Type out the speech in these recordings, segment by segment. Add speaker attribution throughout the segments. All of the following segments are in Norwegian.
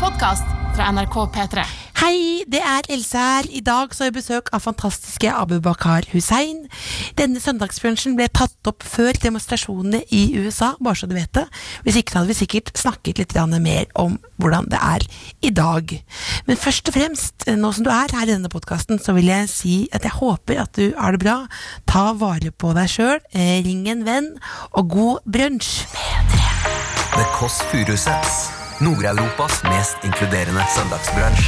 Speaker 1: podkast fra NRK P3.
Speaker 2: Hei, det er Else her. I dag så har jeg besøk av fantastiske Abu Bakar Hussein. Denne søndagsbrunsjen ble tatt opp før demonstrasjonene i USA, bare så du vet det. Hvis ikke så hadde vi sikkert snakket litt grann mer om hvordan det er i dag. Men først og fremst, nå som du er her i denne podkasten, så vil jeg si at jeg håper at du har det bra. Ta vare på deg sjøl, eh, ring en venn, og god brunsj!
Speaker 3: The Kåss Furuseths. Nord-Europas mest inkluderende søndagsbransj.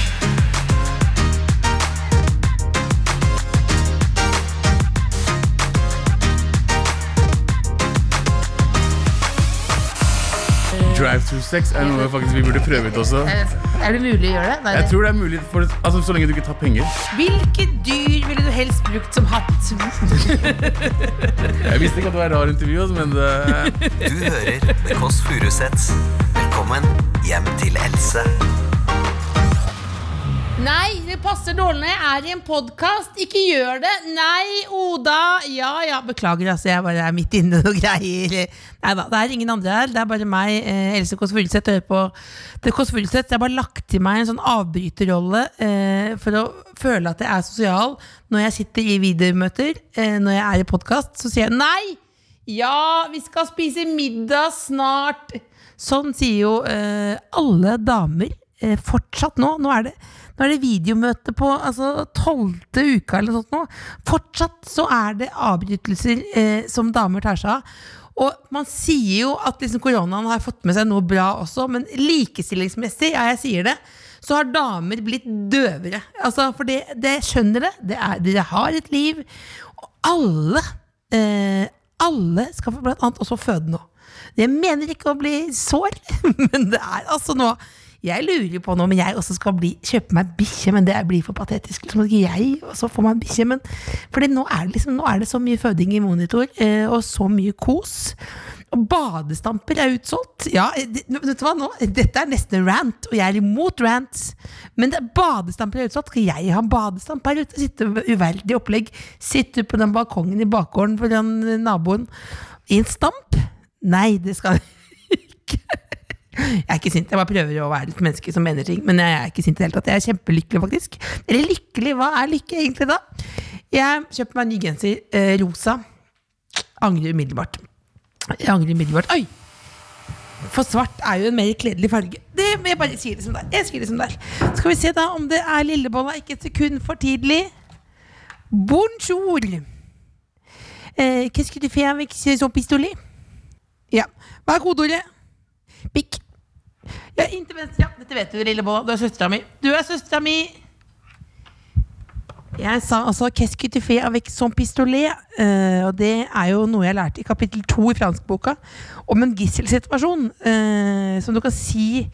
Speaker 4: Drive-through-sex er noe faktisk vi burde prøve ut også.
Speaker 2: Er det mulig å gjøre det?
Speaker 4: Jeg tror det er mulig, for, altså, så lenge du ikke tar penger.
Speaker 2: Hvilke dyr ville du helst brukt som hatt?
Speaker 4: Jeg visste ikke at det var rar intervju, altså, men det,
Speaker 3: Du hører The Kåss Furuseths. Velkommen hjem til Else.
Speaker 1: Nei, det passer dårlig. Jeg er i en podkast. Ikke gjør det. Nei, Oda. Ja ja. Beklager.
Speaker 2: Beklager, altså, jeg bare er midt inne i noen greier. Nei da, det er ingen andre her. Det er bare meg, eh, Else Kåss Furuseth, hører på det er Kåss Furuseth. Jeg har bare lagt til meg en sånn avbryterrolle eh, for å føle at jeg er sosial. Når jeg sitter i videomøter, eh, når jeg er i podkast, så sier jeg nei! Ja, vi skal spise middag snart! Sånn sier jo eh, alle damer eh, fortsatt nå. Nå er det, nå er det videomøte på altså, tolvte uka eller noe sånt nå. Fortsatt så er det avbrytelser eh, som damer tar seg av. Og man sier jo at liksom, koronaen har fått med seg noe bra også, men likestillingsmessig, ja, jeg sier det, så har damer blitt døvere. Altså, for det, det skjønner det. det er, dere har et liv. Og alle eh, alle skal få blant annet også føde nå. Jeg mener ikke å bli sår, men det er altså nå Jeg lurer på nå om jeg også skal bli, kjøpe meg bikkje, men det blir for patetisk. Liksom at ikke jeg også får meg en bikkje, men fordi nå er, det liksom, nå er det så mye føding i monitor, eh, og så mye kos. Og badestamper er utsolgt. Ja, det, vet du hva nå? Dette er nesten en rant, og jeg er imot rants. Men det, badestamper er utsolgt. Skal jeg ha en badestamp her ute? Sitte med uverdig opplegg. Sitte på den balkongen i bakgården foran naboen i en stamp? Nei, det skal jeg ikke. Jeg er ikke sint. Jeg bare prøver å være litt menneske som mener ting. Men jeg er ikke sint i det hele tatt. Jeg er kjempelykkelig, faktisk. Eller lykkelig, hva er lykke egentlig da? Jeg kjøpte meg en ny genser, eh, rosa. Angrer umiddelbart. Jeg angrer umiddelbart. Oi! For svart er jo en mer kledelig farge. Det, jeg bare sier det som det er. Jeg sier det som det er. Skal vi se da om det er lillebolla ikke et sekund for tidlig. Bonjour! Eh, Qu'est-ce que tu fais avec son pistolet? Ja. Hva er kodeordet? Pikk. Ja, inntil venstre. Ja, dette vet du, lillebolla. Du er søstera mi. Du er søstera mi! Jeg sa altså 'qu'est-ce que tu fais avec son pistolet'? eh, og det er jo noe jeg lærte i kapittel to i franskboka, om en gisselsituasjon. eh, som du kan si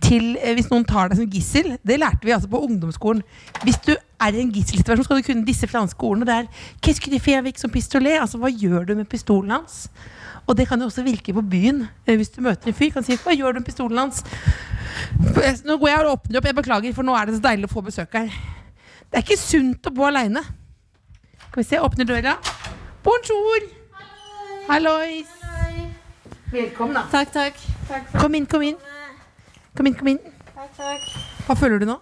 Speaker 2: til eh, hvis noen tar deg som gissel. Det lærte vi altså på ungdomsskolen. Hvis du er i en gisselsituasjon, skal du kunne disse franske ordene. Det er 'qu'est-ce que tu fais avec son pistolet'? Altså hva gjør du med pistolen hans? Og det kan jo også virke på byen. eh, Hvis du møter en fyr, kan du si 'hva gjør du med pistolen hans'? Eh, Nå går jeg og åpner opp, jeg beklager, for nå er det så deilig å få besøk her. Det er ikke sunt å bo aleine. Skal vi se, jeg åpner døra. Bonjour! Hallois! Velkommen, da.
Speaker 5: Takk, takk.
Speaker 2: Kom inn, kom inn. Kom inn, kom inn.
Speaker 5: Takk, takk.
Speaker 2: Hva føler du nå?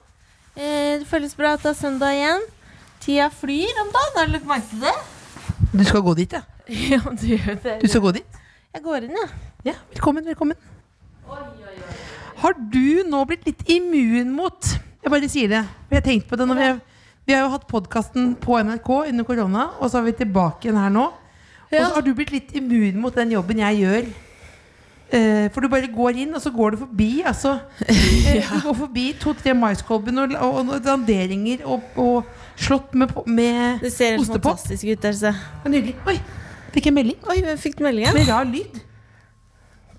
Speaker 5: Eh, det føles bra at det er søndag igjen. Tida flyr om dagen, har du lagt merke til det?
Speaker 2: Du skal gå dit, ja.
Speaker 5: Ja, du gjør det.
Speaker 2: Du skal gå dit?
Speaker 5: Jeg går inn, ja.
Speaker 2: Ja, velkommen, velkommen. Har du nå blitt litt immun mot Jeg bare sier det. for Jeg har tenkt på det når vi, vi har jo hatt podkasten på NRK under korona, og så er vi tilbake igjen her nå. Og så
Speaker 5: Ja.
Speaker 2: har du blitt litt immun mot den jobben jeg gjør. Eh, for du bare går inn, og så går du forbi. Altså, eh, Du går forbi to-tre maiskolben og, og, og danderinger og, og slått med, po- med
Speaker 5: Det ser helt
Speaker 2: ostepop.
Speaker 5: fantastisk ut der, se.
Speaker 2: Det er Nydelig. Oi, fikk en melding
Speaker 5: Oi, jeg fikk meldingen.
Speaker 2: med rar lyd.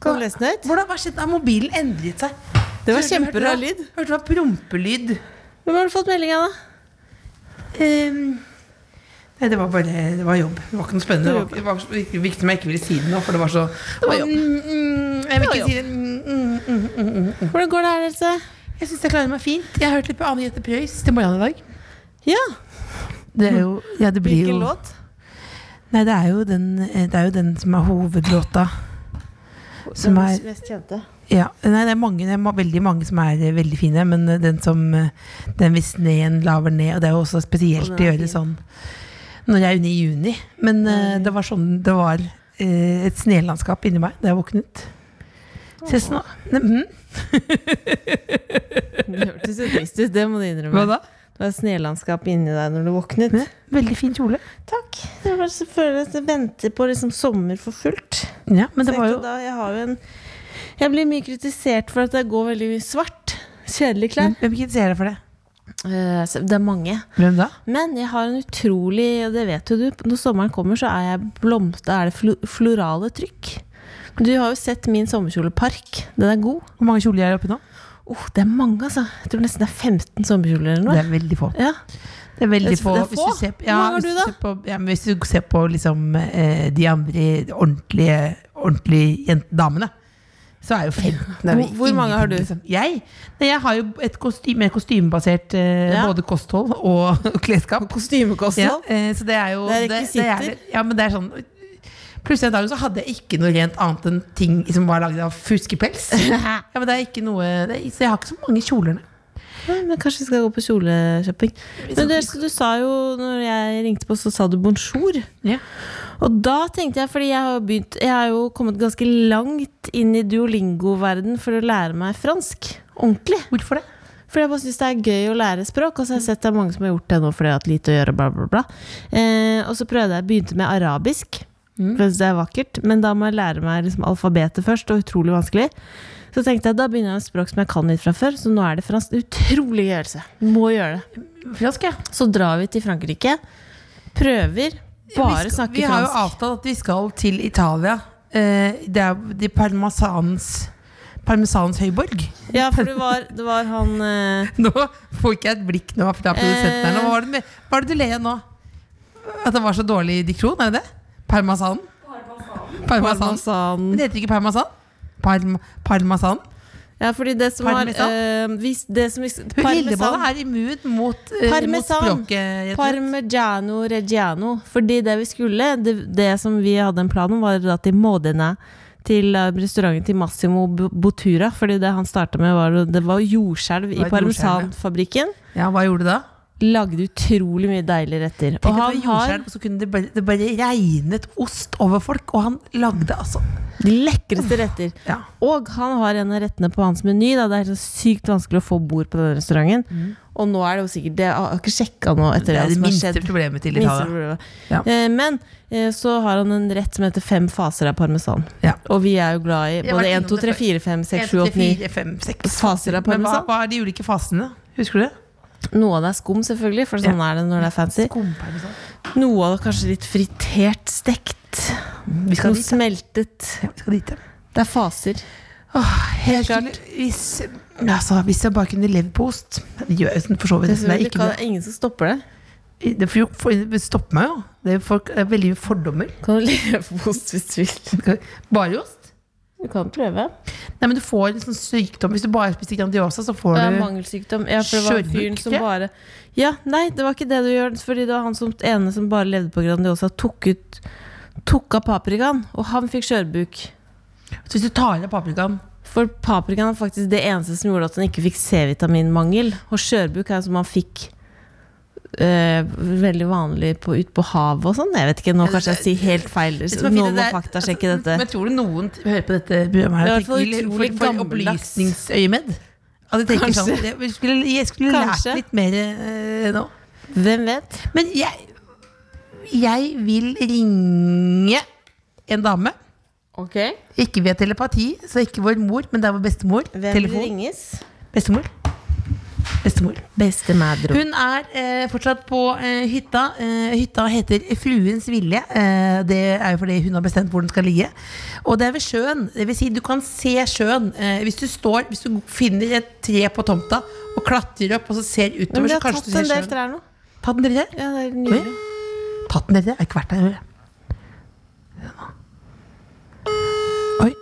Speaker 5: Kan du lese den ut?
Speaker 2: Hvordan, hva skjedde? Har mobilen endret seg?
Speaker 5: Det var
Speaker 2: Hørte du-
Speaker 5: kjemperar
Speaker 2: hørte du-
Speaker 5: lyd.
Speaker 2: Hørte du hva prompelyd?
Speaker 5: Hvem har du fått meldingen av?
Speaker 2: Ehm, nei, det var bare det var jobb. Det var ikke noe spennende. Det var, det var så viktig viktig som jeg ikke ville si det nå, for det var så det
Speaker 5: var jobb.
Speaker 2: Mm, mm, jeg vil
Speaker 5: Det var
Speaker 2: ikke si det. Mm, mm, mm, mm, mm.
Speaker 5: Hvordan går det her, Else?
Speaker 2: Jeg syns jeg klarer meg fint. Jeg har hørt litt på Anne Jette Preus til morgenen i dag.
Speaker 5: Ja.
Speaker 2: Det er jo, ja, det blir
Speaker 5: Hvilken
Speaker 2: jo
Speaker 5: låt?
Speaker 2: Nei, det er jo den, eh, det er jo den som er hovedlåta. Som
Speaker 5: Den
Speaker 2: er-
Speaker 5: mest kjente.
Speaker 2: Ja, nei, det er mange, det er ma- veldig mange som er eh, veldig fine, men eh, den som eh, Den hvis sneen laver ned, og det er jo også spesielt å
Speaker 5: den er
Speaker 2: gjøre sånn når jeg er inne i juni, men eh, det var sånn Det var eh, et snelandskap inni meg da jeg våknet. Ses nå. Ne- mhm,
Speaker 5: Det hørtes litt trist ut, det må du innrømme.
Speaker 2: Hva da?
Speaker 5: Det var snelandskap inni deg når du våknet.
Speaker 2: Ne, Veldig fin kjole.
Speaker 5: Takk. Det var så føler jeg at jeg venter på liksom sommer for fullt.
Speaker 2: Ja, men det
Speaker 5: Tenkte
Speaker 2: var jo
Speaker 5: da, jeg, har jo en, jeg blir mye kritisert for at jeg går veldig mye svart. Kjedelige klær.
Speaker 2: Hvem hvem kritiserer deg for det? Mm.
Speaker 5: Eh, så det er mange.
Speaker 2: Hvem da?
Speaker 5: Men jeg har en utrolig Og det vet jo du, når sommeren kommer, så er, jeg blomst, da er det flo, florale trykk. Du har jo sett min sommerkjolepark. Den er god.
Speaker 2: Hvor mange kjoler er det oppe nå?
Speaker 5: Oh, det er mange, altså. Jeg tror nesten det er 15 sommerkjoler eller
Speaker 2: Det
Speaker 5: noe.
Speaker 2: er veldig få.
Speaker 5: Ja.
Speaker 2: Det er veldig
Speaker 5: Det er-
Speaker 2: få.
Speaker 5: det er
Speaker 2: Hvis
Speaker 5: få?
Speaker 2: du ser, på-
Speaker 5: Hvor mange har
Speaker 2: hvis
Speaker 5: du
Speaker 2: du
Speaker 5: da?
Speaker 2: ser på, ja, men hvis du ser på liksom, eh, de andre ordentlige, ordentlige jent- damene, så er jo 15 er jo
Speaker 5: Hvor- hvor mange har
Speaker 2: ingenting,
Speaker 5: du?
Speaker 2: liksom. Jeg? Nei, jeg har jo et kostyme, mer kostymebasert eh,
Speaker 5: Ja.
Speaker 2: både kosthold og klesskap. Ja,
Speaker 5: Kostymekosthold.
Speaker 2: eh, så det er jo
Speaker 5: Det er
Speaker 2: det- ja, men det er sånn Plutselig en dag så hadde jeg ikke noe rent annet enn ting som var laget av fuskepels. ja, men det er ikke noe det, er- Så jeg har ikke så mange kjoler. nei.
Speaker 5: Nei, Men kanskje vi skal gå på kjoleshopping. Men du, du sa jo, når jeg ringte på, så sa du bonjour.
Speaker 2: Ja.
Speaker 5: Og da tenkte jeg, fordi jeg har, jo begynt, jeg har jo kommet ganske langt inn i duolingo-verden for å lære meg fransk. Ordentlig.
Speaker 2: Hvorfor det?
Speaker 5: Fordi jeg bare syns det er gøy å lære språk. Og så har jeg sett det er mange som har gjort det nå fordi jeg har hatt lite å gjøre, bla, bla, bla. Eh, og så prøvde jeg, begynte med arabisk.
Speaker 2: Mm.
Speaker 5: For jeg synes det er vakkert. Men da må jeg lære meg liksom, alfabetet først, og utrolig vanskelig. Så tenkte jeg, da begynner jeg med språk som jeg kan litt fra før, så nå er det fransk. Utrolig gøy øvelse. Må gjøre det.
Speaker 2: Fransk, ja.
Speaker 5: Så drar vi til Frankrike. Prøver. Bare
Speaker 2: vi skal-
Speaker 5: snakke
Speaker 2: Vi har jo
Speaker 5: fransk.
Speaker 2: avtalt at vi skal til Italia. Eh, det er de parmesanens Parmesanens høyborg.
Speaker 5: Ja, for det var, det var han eh,
Speaker 2: Nå får ikke jeg et blikk nå fra produsenten her. nå. Hva var det, med, hva er det du ler av nå? At det var så dårlig diksjon? Er det det? Parmesanen? Parmesan. Men
Speaker 5: Parmesan
Speaker 2: Det heter ikke parmesan? Parm parmesan?
Speaker 5: Ja, fordi det som var
Speaker 2: Parmesan?
Speaker 5: eh, hvis, det som, hvis,
Speaker 2: Hun Lillebolla
Speaker 5: Parmesan.
Speaker 2: er immun mot, eh, mot
Speaker 5: Parmesan.
Speaker 2: språket. rett og slett.
Speaker 5: Parmigiano reggiano. Fordi det vi skulle, det, det som vi hadde en plan om, var da til Modena. Til eh, restauranten til Massimo B- Bottura. Fordi det han starta med, var, det var jordskjelv i
Speaker 2: Det var et jordskjelv,
Speaker 5: parmesanfabrikken.
Speaker 2: Ja, hva gjorde du da?
Speaker 5: Lagde utrolig mye deilige retter.
Speaker 2: Tenk at det var jordskjelv, og så kunne det bare, det bare regnet ost over folk, og han lagde altså
Speaker 5: De lekreste retter.
Speaker 2: Ja.
Speaker 5: Og han har en av rettene på hans meny. Da. Det er så sykt vanskelig å få bord på den restauranten. Og nå er det jo sikkert Det jeg har ikke sjekka nå
Speaker 2: Mm. Det
Speaker 5: etter det,
Speaker 2: er det
Speaker 5: som har
Speaker 2: minste
Speaker 5: skjedd.
Speaker 2: problemet til
Speaker 5: Minste
Speaker 2: Italia.
Speaker 5: problemet.
Speaker 2: Ja.
Speaker 5: Eh, Men eh, så har han en rett som heter fem faser av parmesan.
Speaker 2: Ja.
Speaker 5: Og vi er jo glad i
Speaker 2: har vært
Speaker 5: både 1,
Speaker 2: innom
Speaker 5: 2,
Speaker 2: det
Speaker 5: 3,
Speaker 2: før.
Speaker 5: 4, 5, 6, 7,
Speaker 2: 1,
Speaker 5: 8, 9.
Speaker 2: 4, 5, 6
Speaker 5: Faser av
Speaker 2: Men hva,
Speaker 5: parmesan?
Speaker 2: hva er de ulike fasene? Husker du det?
Speaker 5: Noe av det er skum, selvfølgelig, for sånn er det når det er fancy.
Speaker 2: Skumparmesan.
Speaker 5: Noe av det er kanskje litt fritert, stekt.
Speaker 2: Vi skal
Speaker 5: Noe
Speaker 2: dit. da.
Speaker 5: smeltet.
Speaker 2: Ja, vi skal dit. da.
Speaker 5: Det er faser.
Speaker 2: Jeg skulle, hvis, altså, hvis jeg bare kunne levd på ost Det gjør jeg sånn, for så vidt.
Speaker 5: Det
Speaker 2: nesten, Det,
Speaker 5: er
Speaker 2: er ikke noe-
Speaker 5: ingen som stopper det.
Speaker 2: det, får jo- får- det stopper meg jo. Det er, folk, det er veldig mye fordommer.
Speaker 5: Kan du leve på ost hvis du vil?
Speaker 2: Bare ost?
Speaker 5: Du kan prøve.
Speaker 2: Nei, men du får en sånn sykdom. Hvis du bare spiser Grandiosa, så får
Speaker 5: Ja,
Speaker 2: du
Speaker 5: mangelsykdom. Ja, for det var
Speaker 2: Skjønner du
Speaker 5: fyren som
Speaker 2: ikke?
Speaker 5: bare Ja, nei, det var ikke det du gjør. Fordi det var han som ene som bare levde på Grandiosa, tok ut Tok av paprikaen, og han fikk skjørbuk.
Speaker 2: Så Hvis du tar av paprikaen
Speaker 5: For paprikaen er faktisk det eneste som gjorde at han ikke fikk C-vitaminmangel. Og skjørbuk er som han fikk eh, veldig vanlig på, ut på havet og sånn. Jeg vet ikke, nå kanskje jeg sier helt feil.
Speaker 2: Det som er fint,
Speaker 5: Noen
Speaker 2: det
Speaker 5: må
Speaker 2: er-
Speaker 5: faktasjekke
Speaker 2: altså,
Speaker 5: dette.
Speaker 2: Men tror du noen t- hører på dette programmet her
Speaker 5: Det er
Speaker 2: og
Speaker 5: i hvert fall
Speaker 2: tenker, for,
Speaker 5: utrolig
Speaker 2: for
Speaker 5: gammeldags.
Speaker 2: opplysningsøyemed? At de tenker
Speaker 5: Kanskje.
Speaker 2: sånn Jeg skulle, jeg skulle lært
Speaker 5: Kanskje.
Speaker 2: litt mer eh, nå.
Speaker 5: Hvem vet?
Speaker 2: Men jeg Jeg vil ringe en dame.
Speaker 5: Ok
Speaker 2: Ikke via telepati, så ikke vår mor, men det er vår bestemor.
Speaker 5: Hvem vil
Speaker 2: Telefon.
Speaker 5: ringes?
Speaker 2: Bestemor. Bestemor.
Speaker 5: Beste madro.
Speaker 2: Hun er eh, fortsatt på eh, hytta. Eh, hytta heter Fruens vilje. Eh, det er jo fordi hun har bestemt hvor den skal ligge. Og det er ved sjøen. Det vil si, du kan se sjøen. Eh, hvis du står, hvis du finner et tre på tomta og klatrer opp og så ser
Speaker 5: Men
Speaker 2: utover,
Speaker 5: vi
Speaker 2: så
Speaker 5: har
Speaker 2: kanskje
Speaker 5: tatt
Speaker 2: du ser
Speaker 5: en del
Speaker 2: sjøen.
Speaker 5: trær nå.
Speaker 2: Tatt den dere?
Speaker 5: Ja, det er
Speaker 2: Oi.
Speaker 5: nydelig.
Speaker 2: Tatt den dere? Jeg har ikke vært der. jeg. Oi.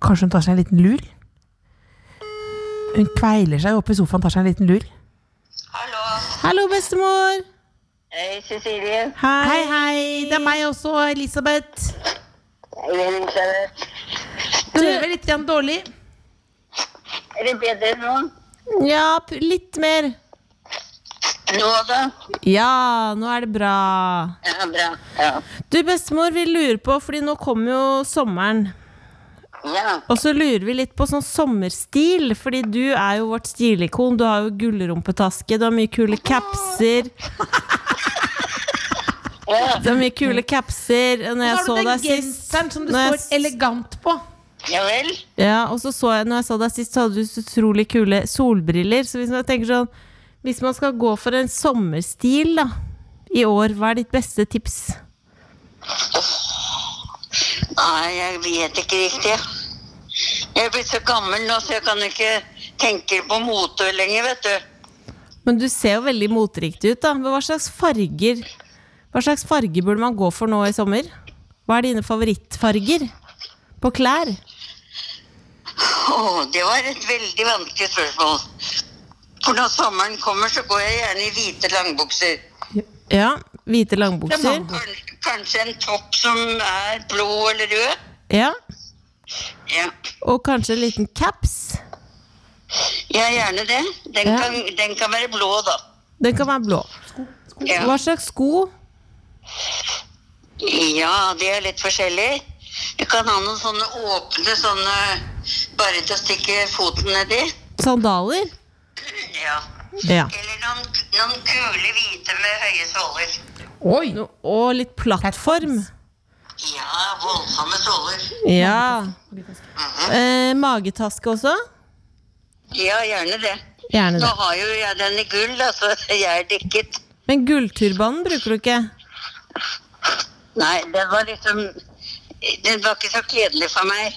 Speaker 2: Kanskje hun tar seg en liten lur? Hun kveiler seg oppe i sofaen, tar seg en liten lur.
Speaker 6: Hallo.
Speaker 5: Hallo, bestemor!
Speaker 6: Hei, Cecilie.
Speaker 2: Hei, hei. Det er meg også, Elisabeth.
Speaker 6: Hei, Elisabeth.
Speaker 2: Du hører litt grann dårlig.
Speaker 6: Er det bedre nå?
Speaker 5: Ja, p- litt mer.
Speaker 6: Nå da?
Speaker 5: Ja, nå er det bra.
Speaker 6: Ja, bra. Ja.
Speaker 5: Du, bestemor, vi lurer på, fordi nå kommer jo sommeren.
Speaker 6: ja.
Speaker 5: Og så lurer vi litt på sånn sommerstil, fordi du er jo vårt stilikon. Du har jo gullrumpetaske, du har mye kule capser. Du har mye kule capser. Og Når
Speaker 2: Så
Speaker 5: jeg
Speaker 2: har
Speaker 5: så
Speaker 2: du den
Speaker 5: deg sist
Speaker 2: genseren som det
Speaker 5: Når jeg
Speaker 2: står elegant på.
Speaker 6: Ja vel?
Speaker 5: Ja, og så så jeg, når jeg så deg sist, så hadde du så utrolig kule solbriller. Så hvis man tenker sånn Hvis man skal gå for en sommerstil da i år, hva er ditt beste tips?
Speaker 6: Nei, Ah, jeg vet ikke riktig. Jeg er blitt så gammel nå, så jeg kan ikke tenke på mote lenger, vet du.
Speaker 5: Men du ser jo veldig moteriktig ut, da. Men hva slags farger Hva slags farger burde man gå for nå i sommer? Hva er dine favorittfarger på klær?
Speaker 6: Åh, det var et veldig vanskelig spørsmål. For når sommeren kommer, så går jeg gjerne i hvite langbukser.
Speaker 5: Ja, hvite langbukser.
Speaker 6: Kan- Kanskje en topp som er blå eller rød.
Speaker 5: Ja,
Speaker 6: Ja,
Speaker 5: og kanskje en liten caps.
Speaker 6: ja gjerne det. Den,
Speaker 5: Ja.
Speaker 6: kan, den kan være blå, da.
Speaker 5: Den kan være blå.
Speaker 6: Ja.
Speaker 5: Hva slags sko?
Speaker 6: ja, det er litt forskjellig. Jeg kan ha noen sånne åpne sånne bare til å stikke foten nedi.
Speaker 5: Sandaler?
Speaker 6: Ja.
Speaker 5: Ja.
Speaker 6: Eller noen, noen kule hvite med høye såler.
Speaker 2: Oi!
Speaker 5: No- Og litt plattform.
Speaker 6: Ja, voldsomme såler.
Speaker 5: Ja. Eh, magetaske også?
Speaker 6: Ja, gjerne det.
Speaker 5: Gjerne
Speaker 6: Nå
Speaker 5: det.
Speaker 6: har jo jeg den i gull, da, så jeg er dekket.
Speaker 5: Men gullturbanen bruker du ikke?
Speaker 6: Nei, den var liksom Den var ikke så kledelig for meg.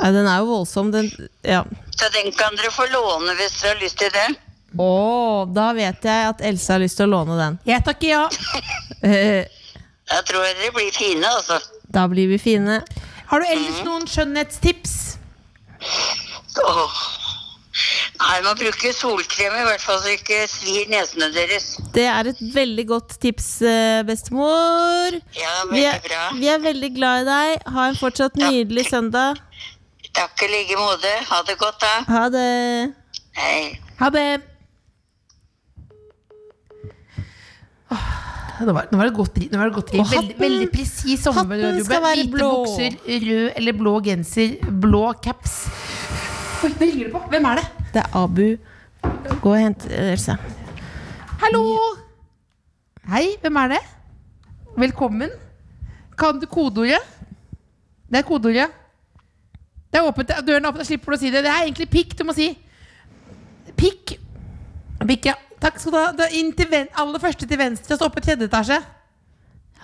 Speaker 5: Nei, den er jo voldsom, den. Ja.
Speaker 6: Så den kan dere få låne hvis dere har lyst til det.
Speaker 5: Å, da vet jeg at Else har lyst til å låne den.
Speaker 2: Jeg takker ja.
Speaker 5: Eh,
Speaker 6: Da tror jeg dere blir fine, altså.
Speaker 5: da blir vi fine.
Speaker 2: Har du ellers noen skjønnhetstips?
Speaker 6: Åh. Nei, man bruker solkrem i hvert fall så ikke svir nesene deres.
Speaker 5: Det er et veldig godt tips, eh, bestemor.
Speaker 6: Ja,
Speaker 5: Vi er,
Speaker 6: veldig bra.
Speaker 5: vi er veldig glad i deg. Ha en fortsatt nydelig søndag.
Speaker 6: Takk i like måte. Ha det godt, da.
Speaker 5: Ha det.
Speaker 6: Hei.
Speaker 2: Ha det. Åh, Nå var, nå var det godt driv. nå var det godt driv.
Speaker 5: Og
Speaker 2: Veldig,
Speaker 5: hatten-
Speaker 2: veldig presis
Speaker 5: hatten skal være
Speaker 2: Hvite
Speaker 5: blå.
Speaker 2: bukser, rød eller blå genser, blå caps. Oi, nå ringer det på. Hvem er det?
Speaker 5: Det er Abu. Gå og hent eh, Else.
Speaker 2: Hallo! Hei, hvem er det? Velkommen. Kan du kodeordet? Det er kodeordet. Det er åpent. Døren er åpen, da slipper du å si det. Det er egentlig pikk du må si. Pikk. Pikk, ja. Takk skal du ha. Da Inn til ven aller første til venstre, og så opp i tredje etasje.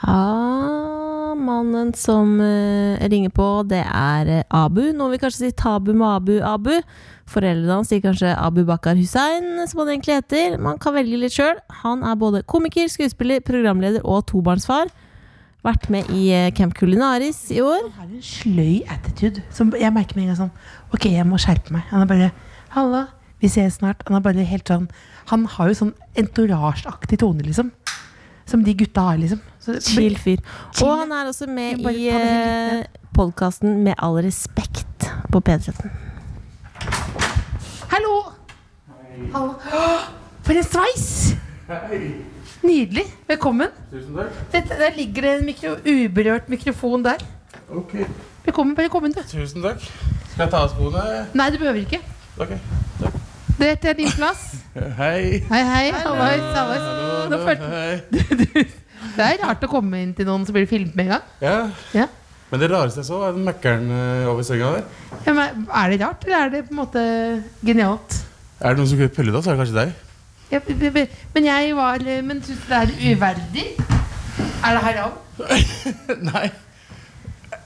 Speaker 5: Ja, Ah, mannen som eh, ringer på, det er eh, Abu. Noen vil kanskje si Tabu Mabu Abu. Foreldrene hans sier kanskje Abu Bakar Hussein, som han egentlig heter. Man kan velge litt sjøl. Han er både komiker, skuespiller, programleder og tobarnsfar. Vært med i eh, Camp Culinaris i år.
Speaker 2: har en sløy attitude. Som jeg merker med en gang sånn Ok, jeg må skjerpe meg. Han er bare Halla, vi ses snart. Han er bare helt sånn Han har jo sånn entorasjeaktig tone, liksom. Som de gutta har, liksom. Så det-
Speaker 5: Chill fyr. Og
Speaker 2: Chill.
Speaker 5: han er også med
Speaker 2: Jeg bare
Speaker 5: i
Speaker 2: tar det helt
Speaker 5: eh, podkasten Med all respekt på P13.
Speaker 2: Hallo! Hallo. Åh, For en sveis! Nydelig. Velkommen.
Speaker 4: Tusen takk.
Speaker 2: Dette, der ligger det en mikro, uberørt mikrofon der.
Speaker 4: Ok.
Speaker 2: Velkommen, velkommen, du.
Speaker 4: Tusen takk. Skal jeg ta av skoene?
Speaker 2: Nei, du behøver ikke.
Speaker 4: Ok.
Speaker 2: Dette er din plass.
Speaker 4: Hei.
Speaker 2: Hei, hei. Hallois, hallois. Nå følte
Speaker 4: Hei.
Speaker 2: Det er rart å komme inn til noen, så blir du filmet med en gang.
Speaker 4: Ja.
Speaker 2: Ja.
Speaker 4: Men det rareste jeg så, er den møkkeren eh, over senga der.
Speaker 2: Ja, men er det rart, eller er det på en måte genialt?
Speaker 4: Er det noen som kunne pelle det, så er det kanskje deg.
Speaker 2: Ja, b- b- b- men jeg var Men syns du det er uverdig? Er det haram?
Speaker 4: Nei.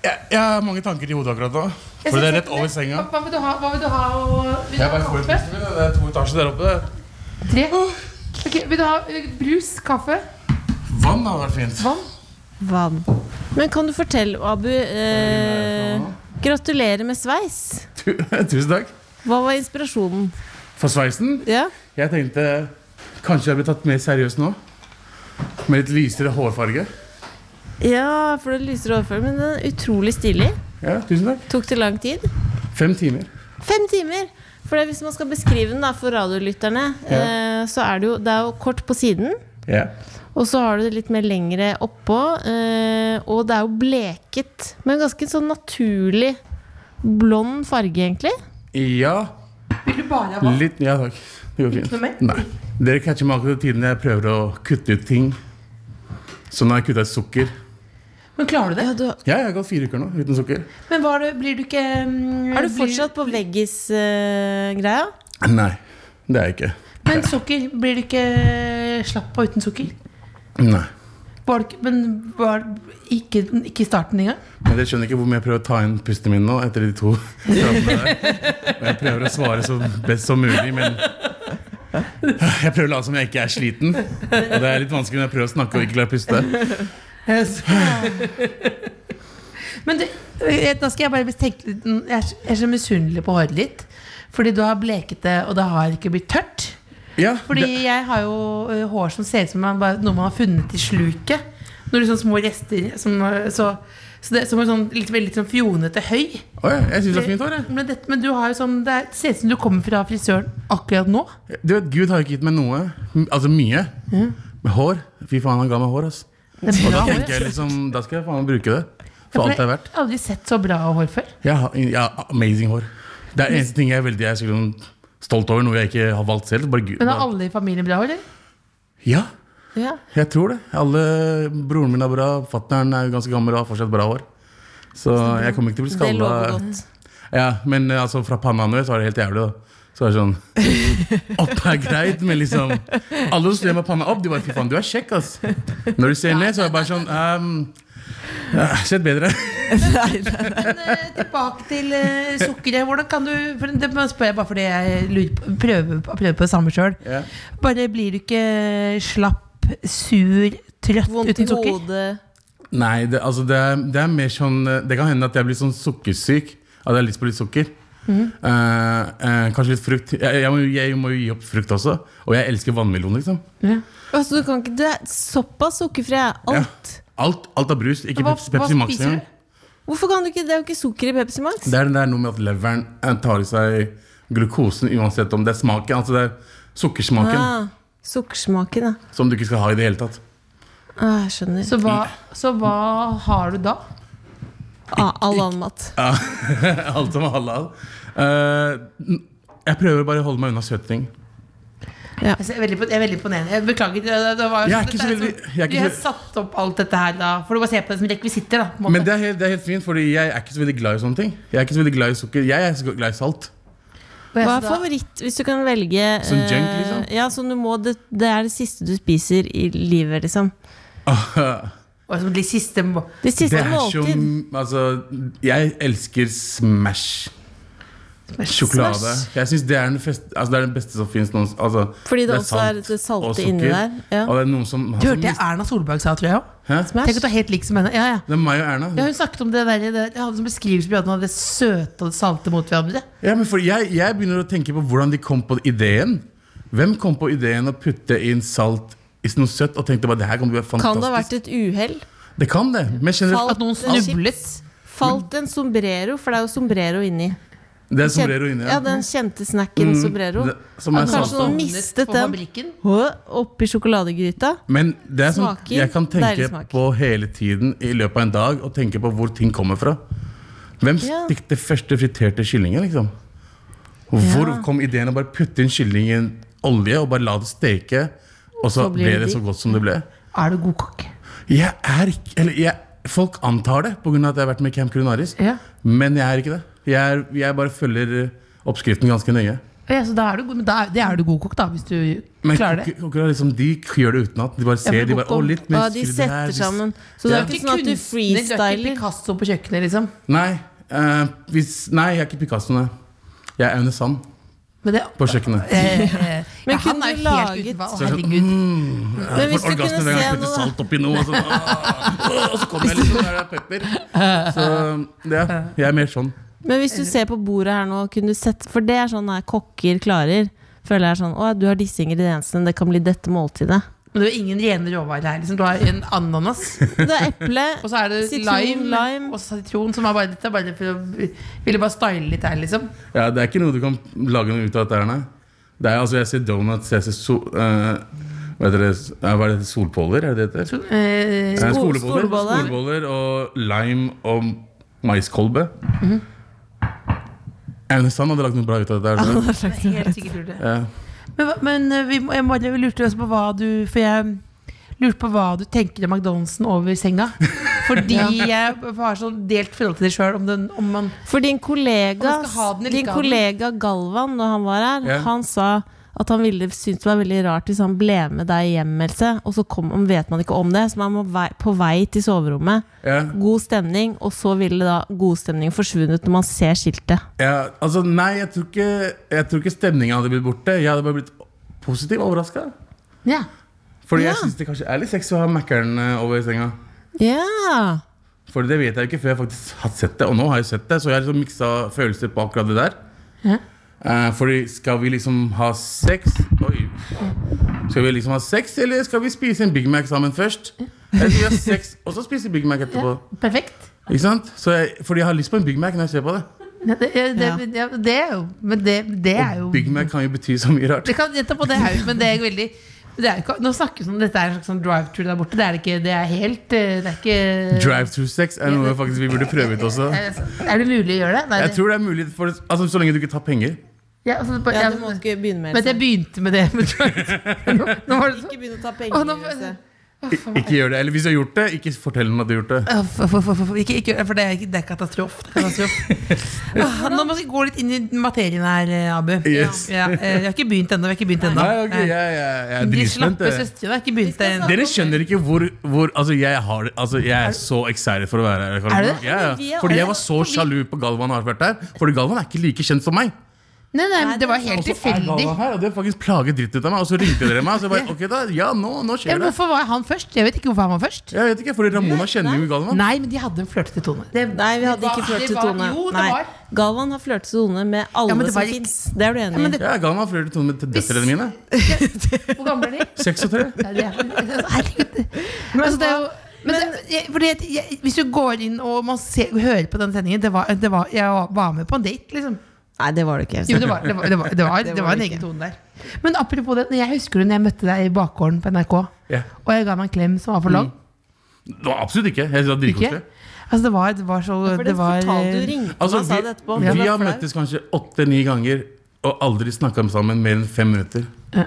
Speaker 4: Jeg, jeg har mange tanker i hodet akkurat nå.
Speaker 2: Jeg synes
Speaker 4: For det er
Speaker 2: ikke
Speaker 4: rett over senga.
Speaker 2: Hva, hva vil du ha? Hva vil du ha og- vil du
Speaker 4: Jeg
Speaker 2: ha
Speaker 4: bare får
Speaker 2: kaffe?
Speaker 4: utvisning, det er to etasjer der oppe. Det.
Speaker 2: Tre? Ok, vil du ha eh, brus, kaffe,
Speaker 4: Vann hadde vært fint.
Speaker 2: vann?
Speaker 5: Vann. Men kan du fortelle, Abu eh, Gratulerer med sveis.
Speaker 4: Tu- Tusen takk.
Speaker 5: Hva var inspirasjonen?
Speaker 4: For sveisen.
Speaker 5: Ja.
Speaker 4: Jeg tenkte kanskje jeg blir tatt mer seriøst nå. Med litt lysere hårfarge.
Speaker 5: ja, for det lyser overfor, men den er utrolig stilig.
Speaker 4: Ja, tusen takk.
Speaker 5: Tok det lang tid?
Speaker 4: Fem timer.
Speaker 5: Fem timer! For det, hvis man skal beskrive den da, for radiolytterne, eh, så er det jo, det er jo kort på siden.
Speaker 4: Ja.
Speaker 5: Og så har du det litt mer lengre oppå. Eh, og det er jo bleket, men ganske sånn naturlig blond farge, egentlig.
Speaker 4: ja.
Speaker 7: Vil du bare ha
Speaker 4: Litt Ja takk. Det går
Speaker 7: Ikke noe mer?
Speaker 4: fint. Nei. Dere catcher meg akkurat tiden jeg prøver å kutte ut ting. Så nå har jeg kutta ut sukker.
Speaker 7: Men klarer du det?
Speaker 4: Ja, jeg har gått fire uker nå uten sukker.
Speaker 7: Men var du, blir du ikke mm,
Speaker 5: Er du
Speaker 7: blir-
Speaker 5: fortsatt på eh, veggis-greia?
Speaker 4: Nei, det er jeg ikke.
Speaker 7: Men sukker, blir du ikke slapp av uten sukker?
Speaker 4: Nei.
Speaker 7: Var du, ikke- men var ikke, ikke i starten engang?
Speaker 4: Men dere skjønner ikke hvor mye jeg prøver å ta inn pustene mine nå etter de to pratene der. Og jeg prøver å svare så best som mulig, men jeg prøver å late som jeg ikke er sliten. Og det er litt vanskelig når jeg prøver å snakke og ikke klarer å puste.
Speaker 7: Men du, eh, da skal jeg bare tenke litt mm, Jeg er så- jeg er så misunnelig på håret ditt. Fordi du har bleket det, og det har ikke blitt tørt.
Speaker 4: Ja,
Speaker 7: Fordi
Speaker 4: det,
Speaker 7: jeg har jo eh, hår som ser ut som man bare, noe man har funnet i sluket. Noen liksom små rester som, eh, så, så det, som er sånn, litt, veldig sånn fjonete høy.
Speaker 4: Å ja, jeg syns det er fint hår, jeg.
Speaker 7: Men, det, men du har jo sånn, det er- det ser ut som du kommer fra frisøren akkurat nå.
Speaker 4: Du vet, Gud har jo ikke gitt meg noe. m- Altså mye. Med hår. Fy faen, han ga meg hår, ass.
Speaker 7: Det er
Speaker 4: Og da
Speaker 7: bra hår.
Speaker 4: tenker jeg liksom, da skal jeg faen bruke det. For alt det er verdt.
Speaker 7: Jeg har aldri sett så bra hår før.
Speaker 4: Jeg har, jeg har amazing hår. Det er eneste ting jeg er veldig jeg er sånn stolt over, noe jeg ikke har valgt selv. Bare Gud.
Speaker 7: Men har alle i familien bra hår? eller?
Speaker 4: Ja,
Speaker 5: Ja.
Speaker 4: jeg tror det. Alle, broren min er bra, fatter'n er jo ganske gammel og har fortsatt bra hår. Så jeg kommer ikke til å bli
Speaker 5: Det lover
Speaker 4: skalla.
Speaker 5: godt.
Speaker 4: Ja, men eh, altså, fra panna ned så er det helt jævlig. da. Så er det sånn Opp er greit, men liksom Alle som ser meg panna opp, de bare 'fy faen, du er kjekk', ass. Når du ser ned, så er det bare sånn ehm, ja, Sett bedre.
Speaker 7: Men eh, tilbake til eh, sukkeret. Hvordan kan du for Det må jeg spørre bare fordi jeg lurer på, prøver, prøver på det samme sjøl.
Speaker 4: Ja.
Speaker 7: Bare blir du ikke slapp, sur, trøtt
Speaker 5: Vondt i
Speaker 7: uten sukker?
Speaker 5: hodet.
Speaker 4: Nei, det, altså det, er, det er mer sånn Det kan hende at jeg blir sånn sukkersyk. At jeg har lyst på litt sukker.
Speaker 7: Mhm.
Speaker 4: Eh, eh, kanskje litt frukt. Jeg, jeg, må, jo- jeg må jo gi opp frukt også. Og jeg elsker vannmelon, liksom.
Speaker 5: Altså, du kan ikke, du er såpass sukkerfri. jeg.
Speaker 4: Ja.
Speaker 5: Alt.
Speaker 4: Alt, alt av brus. Ikke
Speaker 7: Hva-
Speaker 4: Pepsi,
Speaker 7: hva
Speaker 4: Pepsi Max
Speaker 7: spiser du?
Speaker 4: engang.
Speaker 5: Hvorfor kan du ikke, Det er jo ikke sukker i Pepsi Max.
Speaker 4: Det er det der noe med at leveren eh, tar i seg glukosen uansett om det er smaken. Altså det er sukkersmaken
Speaker 5: Ah, sukkersmaken, ja.
Speaker 4: som du ikke skal ha i det hele tatt.
Speaker 5: Ah, jeg skjønner.
Speaker 7: Så hva, så hva har du da?
Speaker 5: ah, all annen mat.
Speaker 4: Alt som er halal. Eh, n- jeg prøver bare å holde meg unna søte ting.
Speaker 7: Jeg er veldig, jeg er veldig imponerende. Jeg beklager. Det, det var,
Speaker 4: Jeg er ikke så
Speaker 7: dette
Speaker 4: veldig-
Speaker 7: sånn-
Speaker 4: jeg er ikke
Speaker 7: Vi har
Speaker 4: så-
Speaker 7: satt opp alt dette her, da. Får du bare se på det som rekvisitter, da. På en måte.
Speaker 4: Men det er, helt, det er helt fint, Fordi jeg er ikke så veldig glad i sånne ting. Jeg er ikke så veldig glad i sukker. Jeg er så glad i salt.
Speaker 7: Og jeg
Speaker 5: Hva
Speaker 7: sa
Speaker 5: er
Speaker 7: da-
Speaker 5: favoritt, hvis du kan velge
Speaker 4: Sånn
Speaker 5: eh,
Speaker 4: junk, liksom?
Speaker 5: Ja, sånn du må, det, det er det siste du spiser i livet, liksom.
Speaker 7: og så Altså, de siste må-
Speaker 5: Det siste
Speaker 4: Det er
Speaker 5: måltid.
Speaker 4: som Altså, jeg elsker Smash. Sjokolade.
Speaker 5: Smash.
Speaker 4: Jeg syns det, er den fest- altså, det er den beste som fins noen altså,
Speaker 5: Fordi det
Speaker 4: er
Speaker 5: også er det salte
Speaker 4: og
Speaker 5: inni
Speaker 4: sukker.
Speaker 5: der, ja.
Speaker 4: Og det er noen som
Speaker 7: Du hørte det Erna Solberg sa, tror jeg òg.
Speaker 4: Hæ?
Speaker 7: Tenk at du er helt lik som henne. Ja, ja.
Speaker 4: Det er meg og Erna.
Speaker 7: Ja, hun snakket om det der, det, jeg hadde som beskrivelse på at hun hadde det søte og det salte mot hverandre.
Speaker 4: Ja, men for jeg, jeg begynner å tenke på hvordan de kom på ideen. Hvem kom på ideen å putte inn salt i noe søtt? Og tenkte bare, det her kommer til å bli
Speaker 5: Kan det ha
Speaker 4: fantastisk.
Speaker 5: vært et uhell?
Speaker 4: Det kan det. Men generelt,
Speaker 5: Falt-
Speaker 7: At noen snublet.
Speaker 5: Falt en sombrero, for det er jo sombrero inni.
Speaker 4: det er sombrero inni Mm.
Speaker 5: ja, den kjente snacken sombrero.
Speaker 4: Det- Som er
Speaker 5: Kanskje
Speaker 4: salt.
Speaker 5: noen
Speaker 4: da.
Speaker 5: mistet
Speaker 7: på
Speaker 5: den.
Speaker 7: fabrikken.
Speaker 5: Hå, Oppi sjokoladegryta.
Speaker 4: Men det er sånn,
Speaker 5: Smaker.
Speaker 4: jeg kan tenke
Speaker 5: Deilig smak.
Speaker 4: på hele tiden i løpet av en dag og tenke på hvor ting kommer fra. Hvem
Speaker 5: Ja.
Speaker 4: stekte første friterte kyllingen, liksom? Og Hvor kom ideen å bare putte inn kylling i en olje og bare la det steke? Og så,
Speaker 5: Så blir
Speaker 4: ble
Speaker 5: det
Speaker 4: det så
Speaker 5: digg.
Speaker 4: godt som det ble.
Speaker 7: Er du god kokk?
Speaker 4: Jeg er ikke Eller jeg, folk antar det pga. at jeg har vært med i Camp Culinaris,
Speaker 7: Ja.
Speaker 4: men jeg er ikke det. Jeg, er, jeg bare følger eh, oppskriften ganske nøye.
Speaker 7: Ja, så da er du, god- men da er, det er du god kokk, da, hvis du
Speaker 4: Men
Speaker 7: klarer det.
Speaker 4: kok- kokker er liksom, de gjør det utenat. De bare ser.
Speaker 7: for
Speaker 4: de bare,
Speaker 7: kokker-
Speaker 4: å, litt mer
Speaker 5: Ja, de
Speaker 4: skrur det her,
Speaker 5: setter
Speaker 4: litt-
Speaker 5: sammen. Så det
Speaker 4: Ja.
Speaker 5: er ikke sånn at du
Speaker 7: Kunstner, du er ikke
Speaker 5: freestyler.
Speaker 7: Picasso på kjøkkenet, liksom.
Speaker 4: Nei, eh, hvis, nei, jeg er ikke Picasso, nei. Jeg er Aune Sand
Speaker 7: Men det,
Speaker 4: på kjøkkenet.
Speaker 7: eh, eh,
Speaker 5: Men
Speaker 7: ja, han
Speaker 5: kunne
Speaker 7: er jo
Speaker 5: du
Speaker 7: helt
Speaker 5: laget-
Speaker 7: utenfor. Å,
Speaker 4: Så jeg er sånn,
Speaker 7: herregud.
Speaker 4: mm, jeg
Speaker 5: Men hvis
Speaker 4: får
Speaker 5: du kunne
Speaker 4: orgasme hver gang jeg
Speaker 5: se
Speaker 4: putter
Speaker 5: noe, da.
Speaker 4: salt oppi noe. Og så, ah, og så kommer jeg liksom, der er det pepper. Så ja, jeg er mer sånn.
Speaker 5: Men hvis du ser på bordet her nå, kunne du sett For det er sånn her kokker klarer. Føler jeg er sånn Å, du har disse ingrediensene, det kan bli dette måltidet.
Speaker 7: Men det er jo ingen rene råvarer her. Liksom. Du har en ananas,
Speaker 5: Det er eple,
Speaker 7: og så er det
Speaker 5: Sitron,
Speaker 7: lime,
Speaker 5: lime.
Speaker 7: og sitron, som er bare, dette er bare for å ville bare style litt her, liksom.
Speaker 4: Ja, det er ikke noe du kan lage noe ut av dette her, nei. Det er, altså, jeg ser donuts, jeg ser so, eh, hva heter det, Eh, hva er det, solpåler, er det det heter?
Speaker 7: Eh,
Speaker 4: Eh,
Speaker 5: Skol-
Speaker 4: skoleboller,
Speaker 5: skoleboller.
Speaker 4: skoleboller og lime og maiskolbe. Aune Sand hadde lagd noe bra ut av det der. skjønner du?
Speaker 7: helt sikkert tror det.
Speaker 4: Ja.
Speaker 7: Men, hva- men eh, vi, må- jeg bare lurte også på hva du For jeg lurte på hva du tenker om McDonald'sen over senga. Fordi jeg har sånn delt forhold til det sjøl. Om, den- om man
Speaker 5: For din kollega,
Speaker 7: Om man skal ha den eller
Speaker 5: din
Speaker 7: ikke ha den.
Speaker 5: kollega Galvan, da han var her,
Speaker 4: Ja.
Speaker 5: han sa at han ville syntes det var veldig rart hvis han ble med deg hjem, Else, og så kom, vet man ikke om det, så man må vei, på vei til soverommet.
Speaker 4: Ja.
Speaker 5: God stemning, og så ville da god stemning forsvunnet når man ser skiltet.
Speaker 4: Ja, altså, nei, jeg tror ikke, jeg tror ikke stemningen hadde blitt borte. Jeg hadde bare blitt positivt overraska.
Speaker 7: Ja.
Speaker 4: Fordi
Speaker 5: Ja.
Speaker 4: jeg syns det kanskje er litt sexy å ha Mækkern over senga.
Speaker 5: Ja!
Speaker 4: For det vet jeg jo ikke før jeg faktisk har sett det. Og nå har jeg sett det, så jeg har liksom miksa følelser på akkurat det der. Eh, fordi skal vi liksom ha sex Oi. Skal vi liksom ha sex, eller skal vi spise en Big Mac sammen først? Eller skal vi ha sex og så spise Big Mac etterpå?
Speaker 7: Perfekt.
Speaker 4: Ikke sant? Så jeg, fordi jeg har lyst på en Big Mac når jeg ser på det.
Speaker 7: Ja, det, ja, det, ja, det er jo Men det, det er jo
Speaker 4: Big Mac kan jo bety så mye rart.
Speaker 7: Det kan nettopp, og det er jo Men det er jo veldig det er jo ikke, Nå snakkes det om dette er en slags sånn drive-through der borte. Det er det ikke. Det er helt eh, Det er ikke
Speaker 4: Drive-through-sex er noe faktisk vi burde prøve ut også.
Speaker 7: Er det- Er det mulig å gjøre det? Nei,
Speaker 4: Jeg
Speaker 7: det-
Speaker 4: tror det er mulig for Altså Så lenge du ikke tar penger.
Speaker 7: ja, altså, det bare- ja, men-
Speaker 5: ikke begynne
Speaker 7: men jeg begynte med det. Med drive-through. nå, nå var det så, altså.
Speaker 5: begynne å ta
Speaker 7: Å, nå- Else.
Speaker 4: Ik- Ikke gjør det. Eller hvis du har gjort det, ikke fortell noen at du har gjort det.
Speaker 7: Å, for- for- for- for- ikke, ikke, gjør det, for det er, det er katastrofe. Det er katastrofe. Ah, Nå må vi gå litt inn i materien her, eh, Abu.
Speaker 4: Yes.
Speaker 7: Ja, eh, vi har ikke begynt ennå. Vi har ikke begynt ennå.
Speaker 4: Nei, ok, jeg, jeg, jeg er
Speaker 7: De
Speaker 4: dritspent.
Speaker 7: slappe
Speaker 4: jeg.
Speaker 7: søstrene har ikke begynt ennå.
Speaker 4: Dere skjønner ikke hvor, hvor altså, jeg, har, altså, jeg er så excited for å være her. Karina.
Speaker 7: Er du det?
Speaker 4: Ja,
Speaker 5: Men vi
Speaker 4: ja.
Speaker 5: er-
Speaker 4: Fordi jeg var så sjalu på Galvan har vært der. Fordi Galvan er ikke like kjent som meg.
Speaker 7: Nei, nei, men det var helt
Speaker 4: Og så er
Speaker 7: tilfeldig.
Speaker 4: Galvan her, og det faktisk plaget dritt ut av meg. Og så ringte dere meg, og så jeg bare Ok, da. Ja, nå, nå
Speaker 7: Ja,
Speaker 4: skjer
Speaker 7: men
Speaker 4: det.
Speaker 7: hvorfor var han først? Jeg vet ikke hvorfor han var først.
Speaker 4: Jeg vet ikke, fordi Ramona kjenner jo Galvan.
Speaker 7: Nei, men de hadde en flørtete tone. Det,
Speaker 5: Nei, vi hadde
Speaker 7: det
Speaker 5: ikke
Speaker 7: var-
Speaker 5: flørtet
Speaker 7: det var-
Speaker 5: Tone.
Speaker 7: Jo, det
Speaker 5: Nei.
Speaker 7: var.
Speaker 5: Galvan har flørtet Tone med alle
Speaker 7: Ja, men det var
Speaker 5: som
Speaker 7: ikke-
Speaker 5: fins. Det er du enig i?
Speaker 7: men det-
Speaker 4: Ja, Galvan har flørtet med til døtrene mine.
Speaker 7: Hvor gamle er de?
Speaker 4: Seks og tre.
Speaker 7: Nei, de er- Herregud. Altså, det er jo men det, jeg, fordi jeg, jeg, hvis du går inn og man ser, hører på den sendingen det var, det var, Jeg var med på en date, liksom.
Speaker 5: Nei, det var det ikke.
Speaker 7: Jo, det var, det var, det var, det var,
Speaker 5: Det
Speaker 7: det
Speaker 5: var
Speaker 7: var en
Speaker 5: det
Speaker 7: egen
Speaker 5: ikke.
Speaker 7: tone der. Men apropos det, jeg husker du når jeg møtte deg i bakgården på NRK,
Speaker 4: Ja.
Speaker 7: og jeg ga meg en klem som var for lang.
Speaker 4: Det var absolutt ikke. Jeg synes det var
Speaker 7: Ikke?
Speaker 4: dritkoselig.
Speaker 7: Altså, det var, det var
Speaker 5: For
Speaker 7: så
Speaker 5: det,
Speaker 7: det var,
Speaker 5: fortalte du ringte meg
Speaker 4: Altså,
Speaker 5: og sa det etterpå.
Speaker 4: vi,
Speaker 5: Det
Speaker 4: vi
Speaker 5: var
Speaker 4: har
Speaker 5: flaut.
Speaker 4: møttes kanskje åtte-ni ganger og aldri snakka sammen mer enn fem minutter.
Speaker 7: Ja.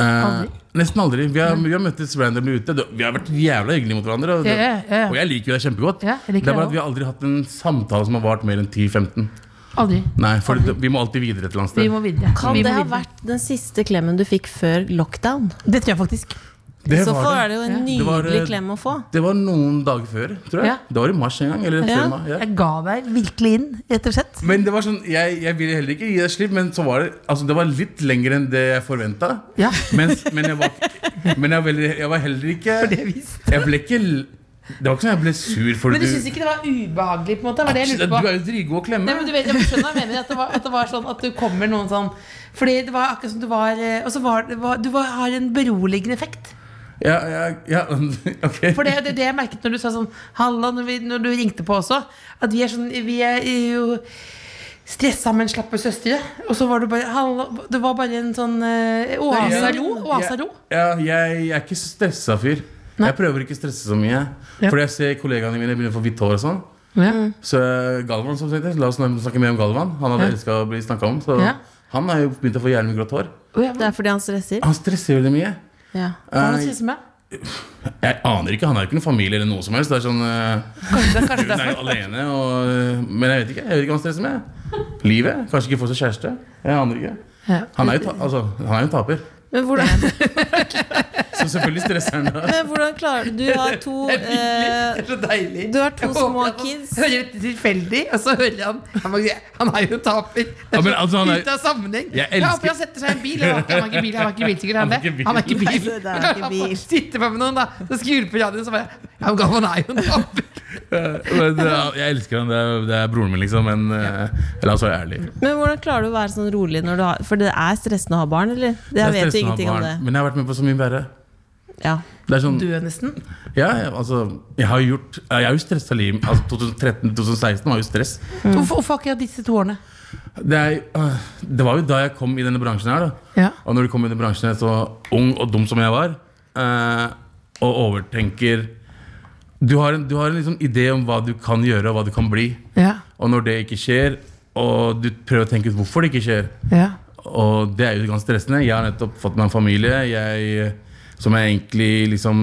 Speaker 4: Eh,
Speaker 7: Aldri?
Speaker 4: nesten aldri. Vi har, vi har møttes randomly ute. Det- Vi har vært jævla hyggelige mot hverandre. Og, det,
Speaker 7: Ja, ja, ja.
Speaker 4: og jeg liker jo deg kjempegodt.
Speaker 7: Ja, jeg liker
Speaker 4: det er
Speaker 7: deg
Speaker 4: bare at vi har aldri hatt en samtale som har vart mer enn 10-15.
Speaker 7: Aldri.
Speaker 4: Nei, for det, vi må alltid videre et eller annet
Speaker 7: Vi
Speaker 4: sted.
Speaker 7: må videre.
Speaker 5: Kan
Speaker 7: vi må
Speaker 5: det ha
Speaker 7: videre.
Speaker 5: vært den siste klemmen du fikk før lockdown?
Speaker 7: Det tror jeg faktisk.
Speaker 4: Det
Speaker 5: I så fall
Speaker 4: var,
Speaker 5: er
Speaker 4: det.
Speaker 5: det jo en
Speaker 4: Det var,
Speaker 5: nydelig
Speaker 4: eh,
Speaker 5: klem å få.
Speaker 4: det var noen dager før, tror jeg.
Speaker 7: Ja.
Speaker 4: Det var i mars en gang. Eller
Speaker 5: Ja.
Speaker 4: før mai. Ja.
Speaker 7: Jeg ga deg virkelig inn, rett og slett.
Speaker 4: Men det var sånn, jeg, jeg ville heller ikke gi deg slipp, men så var det, altså det var litt lenger enn det jeg forventa.
Speaker 7: Ja.
Speaker 4: Men, men, jeg, var, men jeg, var, jeg var heller ikke jeg, ble ikke l- Det var ikke sånn jeg ble sur for
Speaker 7: Men du syns ikke det var ubehagelig? på en måte? Var det jeg lurte
Speaker 4: Du
Speaker 7: på?
Speaker 4: er jo dritgod å klemme.
Speaker 7: Nei, men du vet, jeg skjønner hva jeg mener at det, var, at det var sånn at du kommer noen sånn Fordi det var akkurat som du var eh, Og så var, det var du var, har en beroligende effekt.
Speaker 4: ja, ja, ja, ok.
Speaker 7: For det er det, det jeg merket når du sa sånn Halla, når, vi, når du ringte på også. At vi er sånn Vi er jo stressa, men slappe søstre. Og så var du bare Halla. Det var bare en sånn eh, oase av ro. Oase av ro.
Speaker 4: Ja, jeg, jeg er ikke stressa fyr. Jeg prøver ikke å stresse så mye.
Speaker 7: Ja.
Speaker 4: Fordi jeg ser kollegaene mine begynner å få hvitt hår og sånn. Så eh, Galvan, som sagt, la oss snakke mer om Galvan. Han hadde
Speaker 7: Ja.
Speaker 4: elsket å bli snakket om. Så
Speaker 7: Ja.
Speaker 4: han har jo begynt å få jævlig mye grått hår.
Speaker 5: Det er fordi han stresser.
Speaker 4: Han stresser veldig mye.
Speaker 5: Ja.
Speaker 7: Hva er det
Speaker 4: Eh,
Speaker 7: du synes med?
Speaker 4: jeg aner ikke, Han har jo ikke noen familie eller noe som helst. Det er sånn, eh,
Speaker 7: Kanskje, kanskje
Speaker 4: Hun
Speaker 7: det
Speaker 4: er
Speaker 7: er
Speaker 4: jo alene, og, eh, men jeg vet ikke Jeg vet ikke hva han stresser med. Livet. Kanskje ikke få seg kjæreste. Jeg aner ikke.
Speaker 7: Ja.
Speaker 4: Han er jo ta altså, han er jo en taper.
Speaker 5: Men hvordan,
Speaker 4: Så selvfølgelig stresser han da.
Speaker 5: men hvordan klarer du Du har to eh,
Speaker 7: Det er så deilig.
Speaker 5: Du har to
Speaker 7: Jeg
Speaker 5: små
Speaker 7: håper at han
Speaker 5: kids.
Speaker 7: Hører dette tilfeldig, og så hører han Han, må, han er jo en taper. Det
Speaker 4: Ja,
Speaker 7: er
Speaker 4: men
Speaker 7: så
Speaker 4: altså, han er-
Speaker 7: ute av sammenheng.
Speaker 4: Jeg
Speaker 7: Jeg
Speaker 4: elsker-
Speaker 7: håper han setter seg i en bil. Han har ikke- han har ikke bil, han har ikke bil sikkert.
Speaker 4: Han
Speaker 7: Han,
Speaker 4: har
Speaker 7: det.
Speaker 4: ikke bil.
Speaker 7: han har ikke bil.
Speaker 5: Nei, det er
Speaker 7: Men kan
Speaker 5: ikke
Speaker 7: han
Speaker 5: bil.
Speaker 7: få sitte på med noen, da. Så skrur på radioen, så bare Ja, men Galvan er jo en taper.
Speaker 4: Men, eh, jeg elsker han, det er, det er broren min, liksom. Men eh, la oss være ærlige.
Speaker 5: Men hvordan klarer du å være sånn rolig når du har For det er stressende å ha barn, eller? Jeg
Speaker 4: Det er
Speaker 5: vet jo
Speaker 4: stressende å ha
Speaker 5: ingenting om
Speaker 4: barn,
Speaker 5: det.
Speaker 4: Men jeg har vært med på så mye verre.
Speaker 5: Ja.
Speaker 4: Det er sånn,
Speaker 7: Død, nesten.
Speaker 4: ja, ja, altså, jeg har gjort Jeg er jo stressa liv. Altså, 2013-2016 var jo stress.
Speaker 7: Hvorfor, hvorfor akkurat disse to årene?
Speaker 4: Det, er, øh, det var jo da jeg kom i denne bransjen her. da
Speaker 7: Ja.
Speaker 4: Og når du kom i denne bransjen her, så ung og dum som jeg var, eh, og overtenker Du har en, du har en liksom idé om hva du kan gjøre, og hva du kan bli.
Speaker 7: Ja.
Speaker 4: Og når det ikke skjer, og du prøver å tenke ut hvorfor det ikke skjer,
Speaker 7: ja.
Speaker 4: og det er jo ganske stressende. Jeg har nettopp fått meg en familie jeg, som jeg egentlig liksom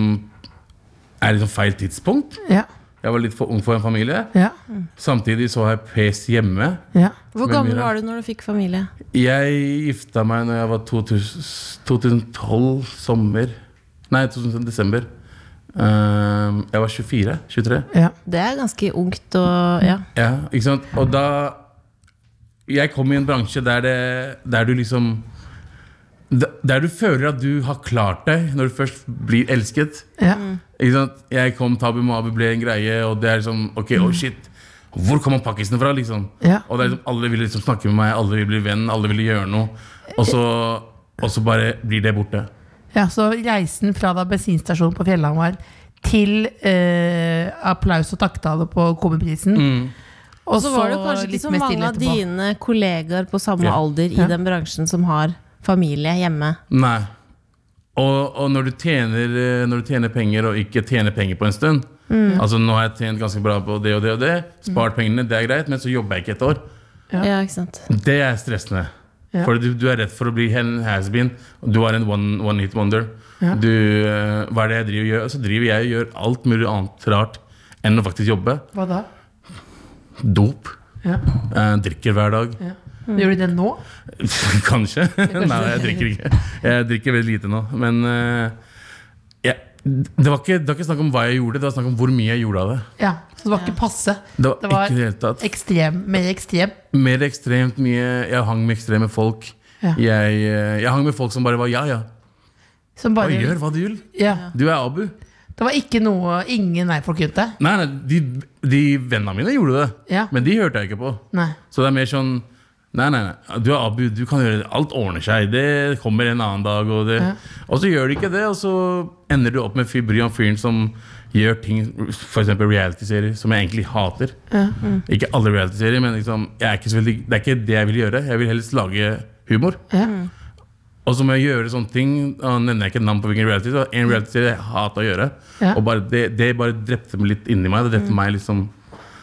Speaker 4: er liksom feil tidspunkt.
Speaker 7: Ja.
Speaker 4: Jeg var litt for ung for en familie.
Speaker 7: Ja.
Speaker 5: Mm.
Speaker 4: Samtidig så har jeg pes hjemme.
Speaker 7: ja.
Speaker 5: Hvor
Speaker 4: Med
Speaker 5: gammel
Speaker 4: Mira.
Speaker 5: var du når du fikk familie?
Speaker 4: Jeg gifta meg når jeg var 2000, 2012 sommer. Nei, 2000 desember. Ehm, jeg var 24. 23.
Speaker 7: ja.
Speaker 5: Det er ganske ungt og ja.
Speaker 4: Ja, ikke sant? Og da Jeg kom i en bransje der, det, der du liksom der- Der du føler at du har klart deg når du først blir elsket.
Speaker 7: ja.
Speaker 5: Mm.
Speaker 4: Ikke sant? Jeg kom, Tabu Mabu ble en greie, og det er liksom Ok, oh shit. Hvor kommer pakkisen fra, liksom?
Speaker 7: Ja.
Speaker 4: Og det er liksom, alle ville liksom snakke med meg, alle ville bli venn, alle ville gjøre noe. Og så, og så bare blir det borte.
Speaker 7: Ja, så reisen fra da bensinstasjonen på Fjellhamar til eh, applaus og takketale på Komiprisen.
Speaker 4: Mm.
Speaker 5: Og så var det kanskje ikke
Speaker 7: litt
Speaker 5: så
Speaker 7: mer
Speaker 5: mange
Speaker 7: stille
Speaker 5: av
Speaker 7: etterpå.
Speaker 5: dine kollegaer på samme
Speaker 4: Ja.
Speaker 5: alder i
Speaker 7: Ja.
Speaker 5: den bransjen som har familie hjemme.
Speaker 4: Nei. Og, og når, du tjener, eh, når du tjener penger og ikke tjener penger på en stund Altså Nå har jeg tjent ganske bra på det og det og det, spart pengene, det er greit, men så jobber jeg ikke et år.
Speaker 5: Ja, ikke sant?
Speaker 4: Det er stressende.
Speaker 7: Ja.
Speaker 4: For du, du er redd for å bli en has-been. Du er en one, one hit wonder.
Speaker 7: Ja.
Speaker 4: Du, eh, hva er det jeg driver og gjør? Så driver jeg og gjør alt mulig annet rart enn å faktisk jobbe.
Speaker 7: Hva da?
Speaker 4: Dop.
Speaker 7: Ja.
Speaker 4: Eh, drikker hver dag.
Speaker 7: ja.
Speaker 5: Mm.
Speaker 7: Gjør du det nå?
Speaker 4: Kanskje. Nei, jeg drikker ikke. Jeg drikker veldig lite nå. Men eh, jeg, det, var ikke, det var ikke snakk om hva jeg gjorde, det var snakk om hvor mye jeg gjorde av det.
Speaker 7: Ja, Så det var ikke passe.
Speaker 4: Det var,
Speaker 7: Det var-
Speaker 4: ikke i det hele tatt.
Speaker 7: Ekstrem, mer ekstrem.
Speaker 4: Mer ekstremt mye. Jeg hang med ekstreme folk.
Speaker 7: Ja.
Speaker 4: Jeg, eh, jeg hang med folk som bare var ja, ja.
Speaker 7: Som
Speaker 4: Hva
Speaker 7: bare
Speaker 4: gjør hva du vil?
Speaker 7: Ja.
Speaker 4: Du er Abu.
Speaker 7: Det var ikke noe ingen nei-folk rundt deg.
Speaker 4: Nei, nei de, de vennene mine gjorde det,
Speaker 7: Ja.
Speaker 4: men de hørte jeg ikke på.
Speaker 7: Nei.
Speaker 4: Så det er mer sånn Nei, nei, nei. Du er Abu, du kan gjøre det. Alt ordner seg. Det kommer en annen dag. Og, det.
Speaker 7: Ja.
Speaker 4: og så gjør det ikke det, og så ender du opp med fyr, bry om fyren som gjør ting, f.eks. realityserier, som jeg egentlig hater. Ikke alle realityserier, men liksom, jeg er ikke så veldig, det er ikke det jeg vil gjøre. Jeg vil helst lage humor.
Speaker 7: Ja.
Speaker 4: Og så må jeg gjøre sånne ting. Og nå nevner jeg ikke navn på hvilken reality. Så en reality jeg hater å gjøre.
Speaker 7: Ja. Mm.
Speaker 4: Og bare, det, det bare drepte meg litt inni meg. Det drepte meg liksom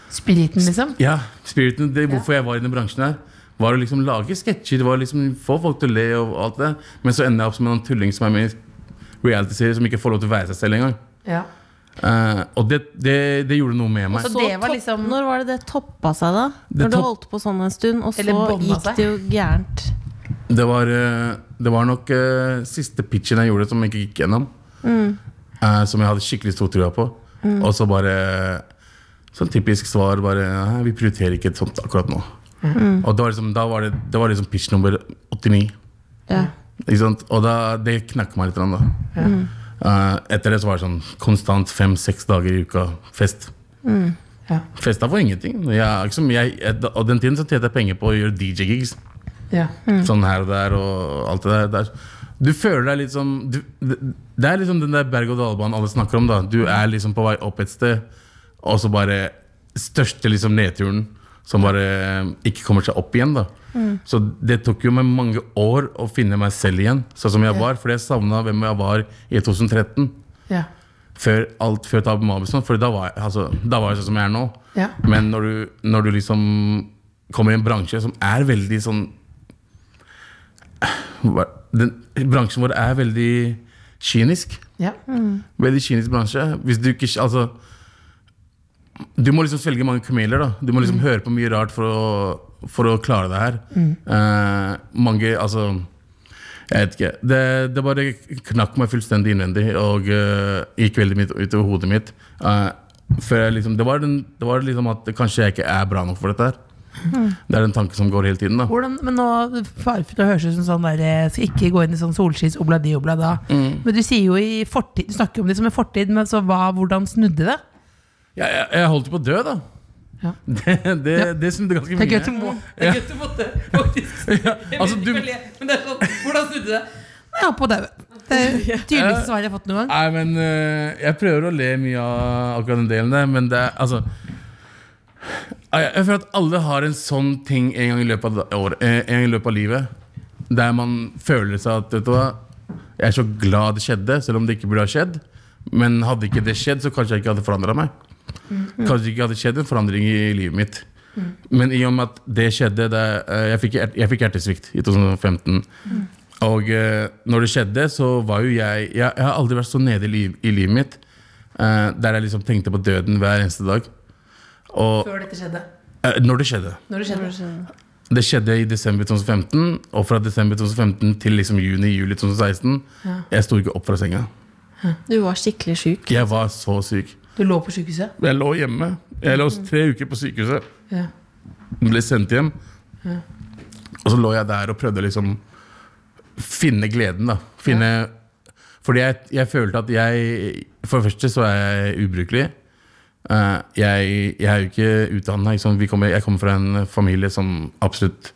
Speaker 7: Spiriten, liksom.
Speaker 4: Ja, spiriten, det, hvorfor jeg var i den bransjen her Var å liksom lage sketsjer Var å liksom få folk til å le og alt det Men så ender jeg opp som en annen tulling som er med i reality-serier Som ikke får lov til å være seg selv engang
Speaker 7: Ja.
Speaker 4: Eh, Og det, det, det gjorde noe med meg
Speaker 7: Så det var
Speaker 5: topp-
Speaker 7: liksom-
Speaker 5: Når var det det toppa seg, da?
Speaker 4: Det
Speaker 5: Når du
Speaker 4: topp-
Speaker 5: holdt på sånn en stund, og
Speaker 7: Eller
Speaker 5: så
Speaker 7: bånda
Speaker 5: gikk
Speaker 7: seg.
Speaker 5: det jo gærent.
Speaker 4: Det var, eh, det var nok eh, siste pitchen jeg gjorde Som jeg ikke gikk gjennom Eh, Som jeg hadde skikkelig stor trua på Og så bare Sånn typisk svar bare Nei, vi prioriterer ikke et sånt akkurat nå Og da var liksom, da var det, det var liksom pitch nummer 89
Speaker 5: Ja.
Speaker 4: Ikke sant? Og da, det knakk meg litt. grann, Da. Eh, etter det så var det sånn konstant fem-seks dager i uka fest.
Speaker 7: Ja.
Speaker 4: Festa for ingenting. Jeg, er ikke som jeg, jeg, og den tiden så tjente jeg penger på å gjøre DJ-gigs.
Speaker 7: Ja.
Speaker 4: Sånn her og der og alt det der. der. Du føler deg litt som du, det, det er liksom den der berg-og-dal-banen alle snakker om. da Du er liksom på vei opp et sted, og så bare største liksom nedturen som bare eh, ikke kommer seg opp igjen. da Så det tok jo meg mange år å finne meg selv igjen, sånn som jeg var. Fordi jeg savna hvem jeg var i 2013.
Speaker 7: Ja.
Speaker 4: Før alt før Tabu Mabelson, for da var, jeg, altså, da var jeg sånn som jeg er nå.
Speaker 7: Ja.
Speaker 4: Men når du, når du liksom kommer i en bransje som er veldig sånn eh, Hva- den, Bransjen vår er veldig kynisk.
Speaker 7: Ja.
Speaker 4: Veldig kynisk bransje. Hvis du ikke Altså Du må liksom svelge mange kameler. da Du må liksom
Speaker 7: Mm.
Speaker 4: høre på mye rart for å, for å klare det her. Eh, mange Altså Jeg vet ikke. Det, det bare knakk meg fullstendig innvendig og eh, gikk veldig mye utover hodet mitt. Eh, før jeg liksom, det, var den, det var liksom at kanskje jeg ikke er bra nok for dette her.
Speaker 7: Mm.
Speaker 4: Det er den tanken som går hele tiden. da
Speaker 7: Hvordan, men nå far for det høres ut som sånn der eh, Skal ikke gå inn i sånn solskinns obla di obla da.
Speaker 4: Mm.
Speaker 7: Men du sier jo i fortid Du snakker jo om det som en fortid, men så hva, hvordan snudde det?
Speaker 4: Jeg, jeg, jeg holdt på å dø, da.
Speaker 7: Ja.
Speaker 4: Det, det,
Speaker 7: Ja.
Speaker 4: det snudde ganske mye.
Speaker 7: Det er gøy at du må Det er gøy at du måtte faktisk
Speaker 4: altså,
Speaker 7: Jeg vil
Speaker 4: du-
Speaker 7: ikke le, men det er sånn Hvordan snudde det? Nei, jeg holdt på å daue. Det er det tydeligste svaret jeg har fått noen gang.
Speaker 4: Nei, men eh, Jeg prøver å le mye av akkurat den delen der, men det er altså Nei, Ah, Jeg føler at alle har en sånn ting en gang i løpet av, år, eh, en gang i løpet av livet. Der man føler seg at Vet du hva, jeg er så glad det skjedde, selv om det ikke burde ha skjedd. Men hadde ikke det skjedd, så kanskje jeg ikke hadde forandra meg. Kanskje ikke hadde skjedd en forandring i livet mitt. Men i og med at det skjedde det, eh, Jeg fikk, hjert- jeg fikk hjertesvikt i 2015. Og eh, når det skjedde, så var jo jeg Jeg, jeg har aldri vært så nede i, liv, i livet mitt. eh, der jeg liksom tenkte på døden hver eneste dag. Og
Speaker 7: Før dette skjedde.
Speaker 4: eh, når det skjedde.
Speaker 7: Når det skjedde.
Speaker 4: Det skjedde i desember 2015, og fra desember 2015 til liksom juni-juli 2016 Jeg sto ikke opp fra senga.
Speaker 5: Du var skikkelig sjuk.
Speaker 4: Jeg var så syk.
Speaker 7: Du lå på sykehuset.
Speaker 4: Jeg lå hjemme. Jeg lå tre uker på sykehuset.
Speaker 7: Ja.
Speaker 4: Ble sendt hjem. Og så lå jeg der og prøvde å liksom finne gleden, da. Finne Fordi jeg, jeg følte at jeg For det første så er jeg ubrukelig. Eh, jeg, jeg er jo ikke utdanna. Liksom. Vi kommer- Jeg kommer fra en familie som absolutt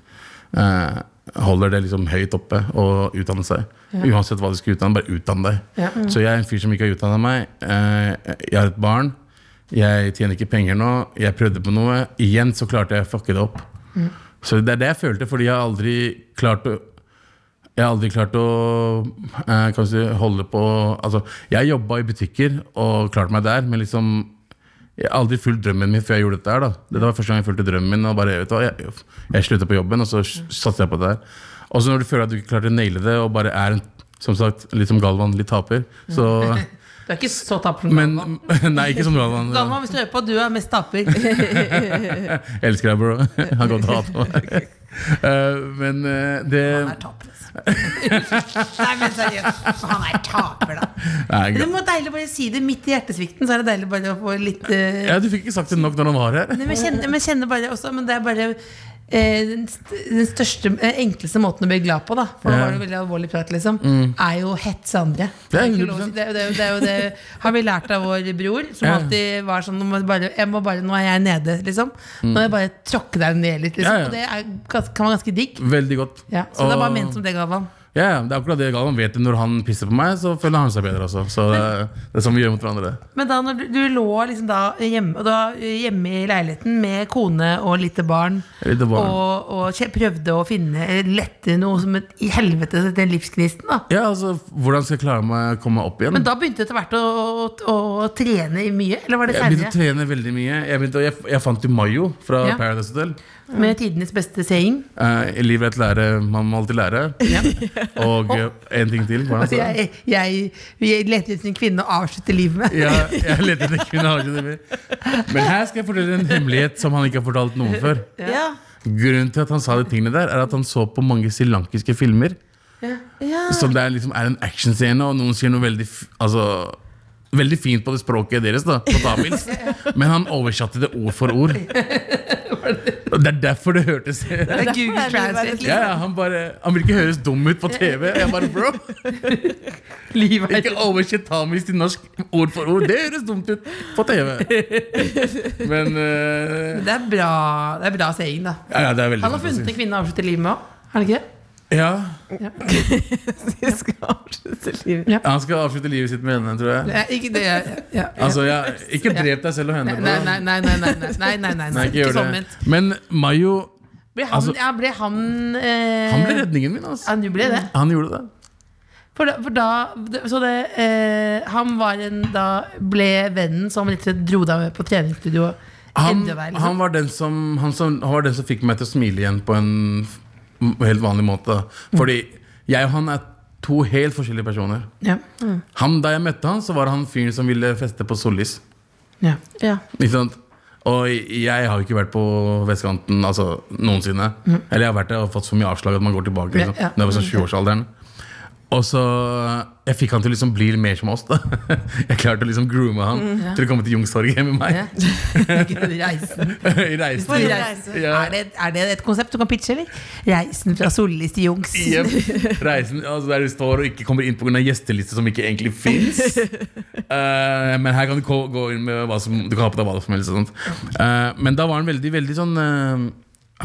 Speaker 4: eh, holder det liksom høyt oppe å utdanne seg. Uansett hva du skal utdanne, bare utdann deg. Så jeg er en fyr som ikke har utdanna meg. Eh, jeg har et barn. Jeg tjener ikke penger nå. Jeg prøvde på noe. Igjen så klarte jeg å fucke det opp. Så det er det jeg følte, fordi jeg har aldri klart å jeg har aldri klart å eh, kan du si, holde på altså, Jeg jobba i butikker og klarte meg der, men liksom jeg har aldri fulgt drømmen min før jeg gjorde dette. her da Dette var første gang jeg fulgte drømmen min. Og bare, vet du hva, jeg, jeg slutta på jobben, og så s- satser jeg på det her. Og så når du føler at du ikke klarte å naile det, og bare er en, som sagt, litt som Galvan, litt taper, så
Speaker 7: Du er ikke så taper som
Speaker 4: Men
Speaker 7: Galvan.
Speaker 4: Nei, ikke som Galvan.
Speaker 7: Galvan, hvis du hører på, du er mest taper.
Speaker 4: Jeg elsker deg, bro. Han kommer til å hate meg. Eh, men eh, det
Speaker 7: Han er taper, altså. Nei, men seriøst. Han er taper, da.
Speaker 4: Nei,
Speaker 7: Men
Speaker 4: Gal-
Speaker 7: det må være deilig å bare si det midt i hjertesvikten, så er det deilig bare å få litt eh,
Speaker 4: ja, Du fikk ikke sagt det nok når han var her.
Speaker 7: Nei, men jeg kjenner, men jeg kjenner bare også Men det er bare eh, den, st den største, eh, enkleste måten å bli glad på, da for nå
Speaker 4: Ja. Mm.
Speaker 7: var det veldig alvorlig prat, liksom, er jo å hetse andre.
Speaker 4: Det er
Speaker 7: ikke lov å
Speaker 4: 100%.
Speaker 7: si- det, er jo- det, er jo- det er jo det har vi lært av vår bror, som
Speaker 4: Ja.
Speaker 7: alltid var sånn nå må du bare, jeg må bare, Nå er jeg nede, liksom. Nå må jeg bare tråkke deg ned litt, liksom.
Speaker 4: Ja, ja.
Speaker 7: Og det er, gans- kan være ganske digg.
Speaker 4: Veldig godt.
Speaker 7: Ja, så det er bare
Speaker 4: Og-
Speaker 7: ment som det, Gavan.
Speaker 4: Ja, ja, det er akkurat det Galvan vet. Når han pisser på meg, så føler han seg bedre. Også. Så det er, det er sånn vi gjør mot hverandre.
Speaker 7: Men da når du, du lå liksom da hjemme, og da, hjemme i leiligheten med kone og lite barn,
Speaker 4: Lite barn.
Speaker 7: Og, og kje- prøvde å finne eh, lette noe som et i helvete den livsgnisten, da.
Speaker 4: Ja, altså, Hvordan skal jeg klare meg å komme meg opp igjen?
Speaker 7: Men da begynte du etter hvert å, å, å, å trene i mye, eller var det
Speaker 4: jeg begynte å
Speaker 7: senere?
Speaker 4: trene veldig mye. Jeg, begynte, å- jeg, jeg fant jo Mayo fra
Speaker 7: Ja.
Speaker 4: Paradise Hotel.
Speaker 7: Med tidenes beste saying.
Speaker 4: Eh, I livet er et lære, man må alltid lære. Og eh, en ting til. Hvordan sa jeg?
Speaker 7: Altså, Jeg, jeg, jeg leter etter en kvinne og avslutter livet med.
Speaker 4: Ja, jeg lette etter kvinner. har ikke det mer. Men her skal jeg fortelle en hemmelighet som han ikke har fortalt noen før.
Speaker 5: Ja.
Speaker 4: Grunnen til at han sa de tingene der, er at han så på mange srilankiske filmer. Som det er liksom er en actionscene, og noen sier noe veldig f- altså, Veldig fint på det språket deres, da, på tamils. Men han oversatte det ord for ord. Og det er derfor det hørtes ja,
Speaker 7: Det er
Speaker 5: Derfor
Speaker 7: Google
Speaker 5: er det
Speaker 7: Translate.
Speaker 4: ja, han, bare, han vil ikke høres dum ut på TV. Jeg bare, bro,
Speaker 7: Livet er
Speaker 4: Ikke oversett tamils til norsk ord for ord. Det høres dumt ut på TV. Men eh,
Speaker 7: Det er bra, det er bra saying, da.
Speaker 4: ja, ja, det er veldig
Speaker 7: Han har funnet en kvinne å avslutte livet med òg, har han ikke det?
Speaker 4: Ja,
Speaker 5: Du skal avslutte livet.
Speaker 4: Han skal avslutte livet sitt med henne, tror jeg.
Speaker 7: Ja, ikke det ja, ja.
Speaker 4: Altså, jeg, Ikke drep deg selv og henne.
Speaker 7: Nei,
Speaker 4: bro.
Speaker 7: nei, nei, nei, nei, nei, nei, nei, nei,
Speaker 4: Nei, ikke gjør
Speaker 7: ikke sånn
Speaker 4: det.
Speaker 7: ment.
Speaker 4: Men Mayo,
Speaker 7: Ble han,
Speaker 4: Altså-
Speaker 7: ja, ble han, eh,
Speaker 4: han ble redningen min. Altså.
Speaker 7: Ja, du ble det.
Speaker 4: Han gjorde det.
Speaker 7: For da, for da Så det eh, Han var en Da ble vennen som rett og slett dro deg med på treningsstudio.
Speaker 4: Han,
Speaker 7: enda verre, liksom.
Speaker 4: han, var den som, han, som, han var den som fikk meg til å smile igjen på en f- helt vanlig måte. Fordi jeg og han er to helt forskjellige personer.
Speaker 7: ja.
Speaker 4: Han, Da jeg møtte han, så var han fyren som ville feste på Solis.
Speaker 7: Ja.
Speaker 5: Ja.
Speaker 4: Ikke sant? Og jeg har jo ikke vært på vestkanten altså, noensinne. Eller jeg har vært der og fått så mye avslag at man går tilbake. Liksom.
Speaker 7: Mm. Ja, Mm. ja.
Speaker 4: Når jeg var sånn 20-årsalderen. Og så Jeg fikk han til å liksom bli mer som oss. da Jeg klarte å liksom groome han til å komme til Youngstorget med meg.
Speaker 7: Mm, Ja. Reisen.
Speaker 4: I reisen.
Speaker 7: For reisen.
Speaker 4: Ja.
Speaker 7: Er, det, er det et konsept du kan pitche, eller? Reisen fra Sollis til Jungs.
Speaker 4: Jep. Reisen altså der du står og ikke kommer inn pga. gjesteliste som ikke egentlig fins. men her kan du gå gå inn med hva som Du kan ha på deg hva som helst. og Sånt. Eh, men da var han veldig veldig sånn eh,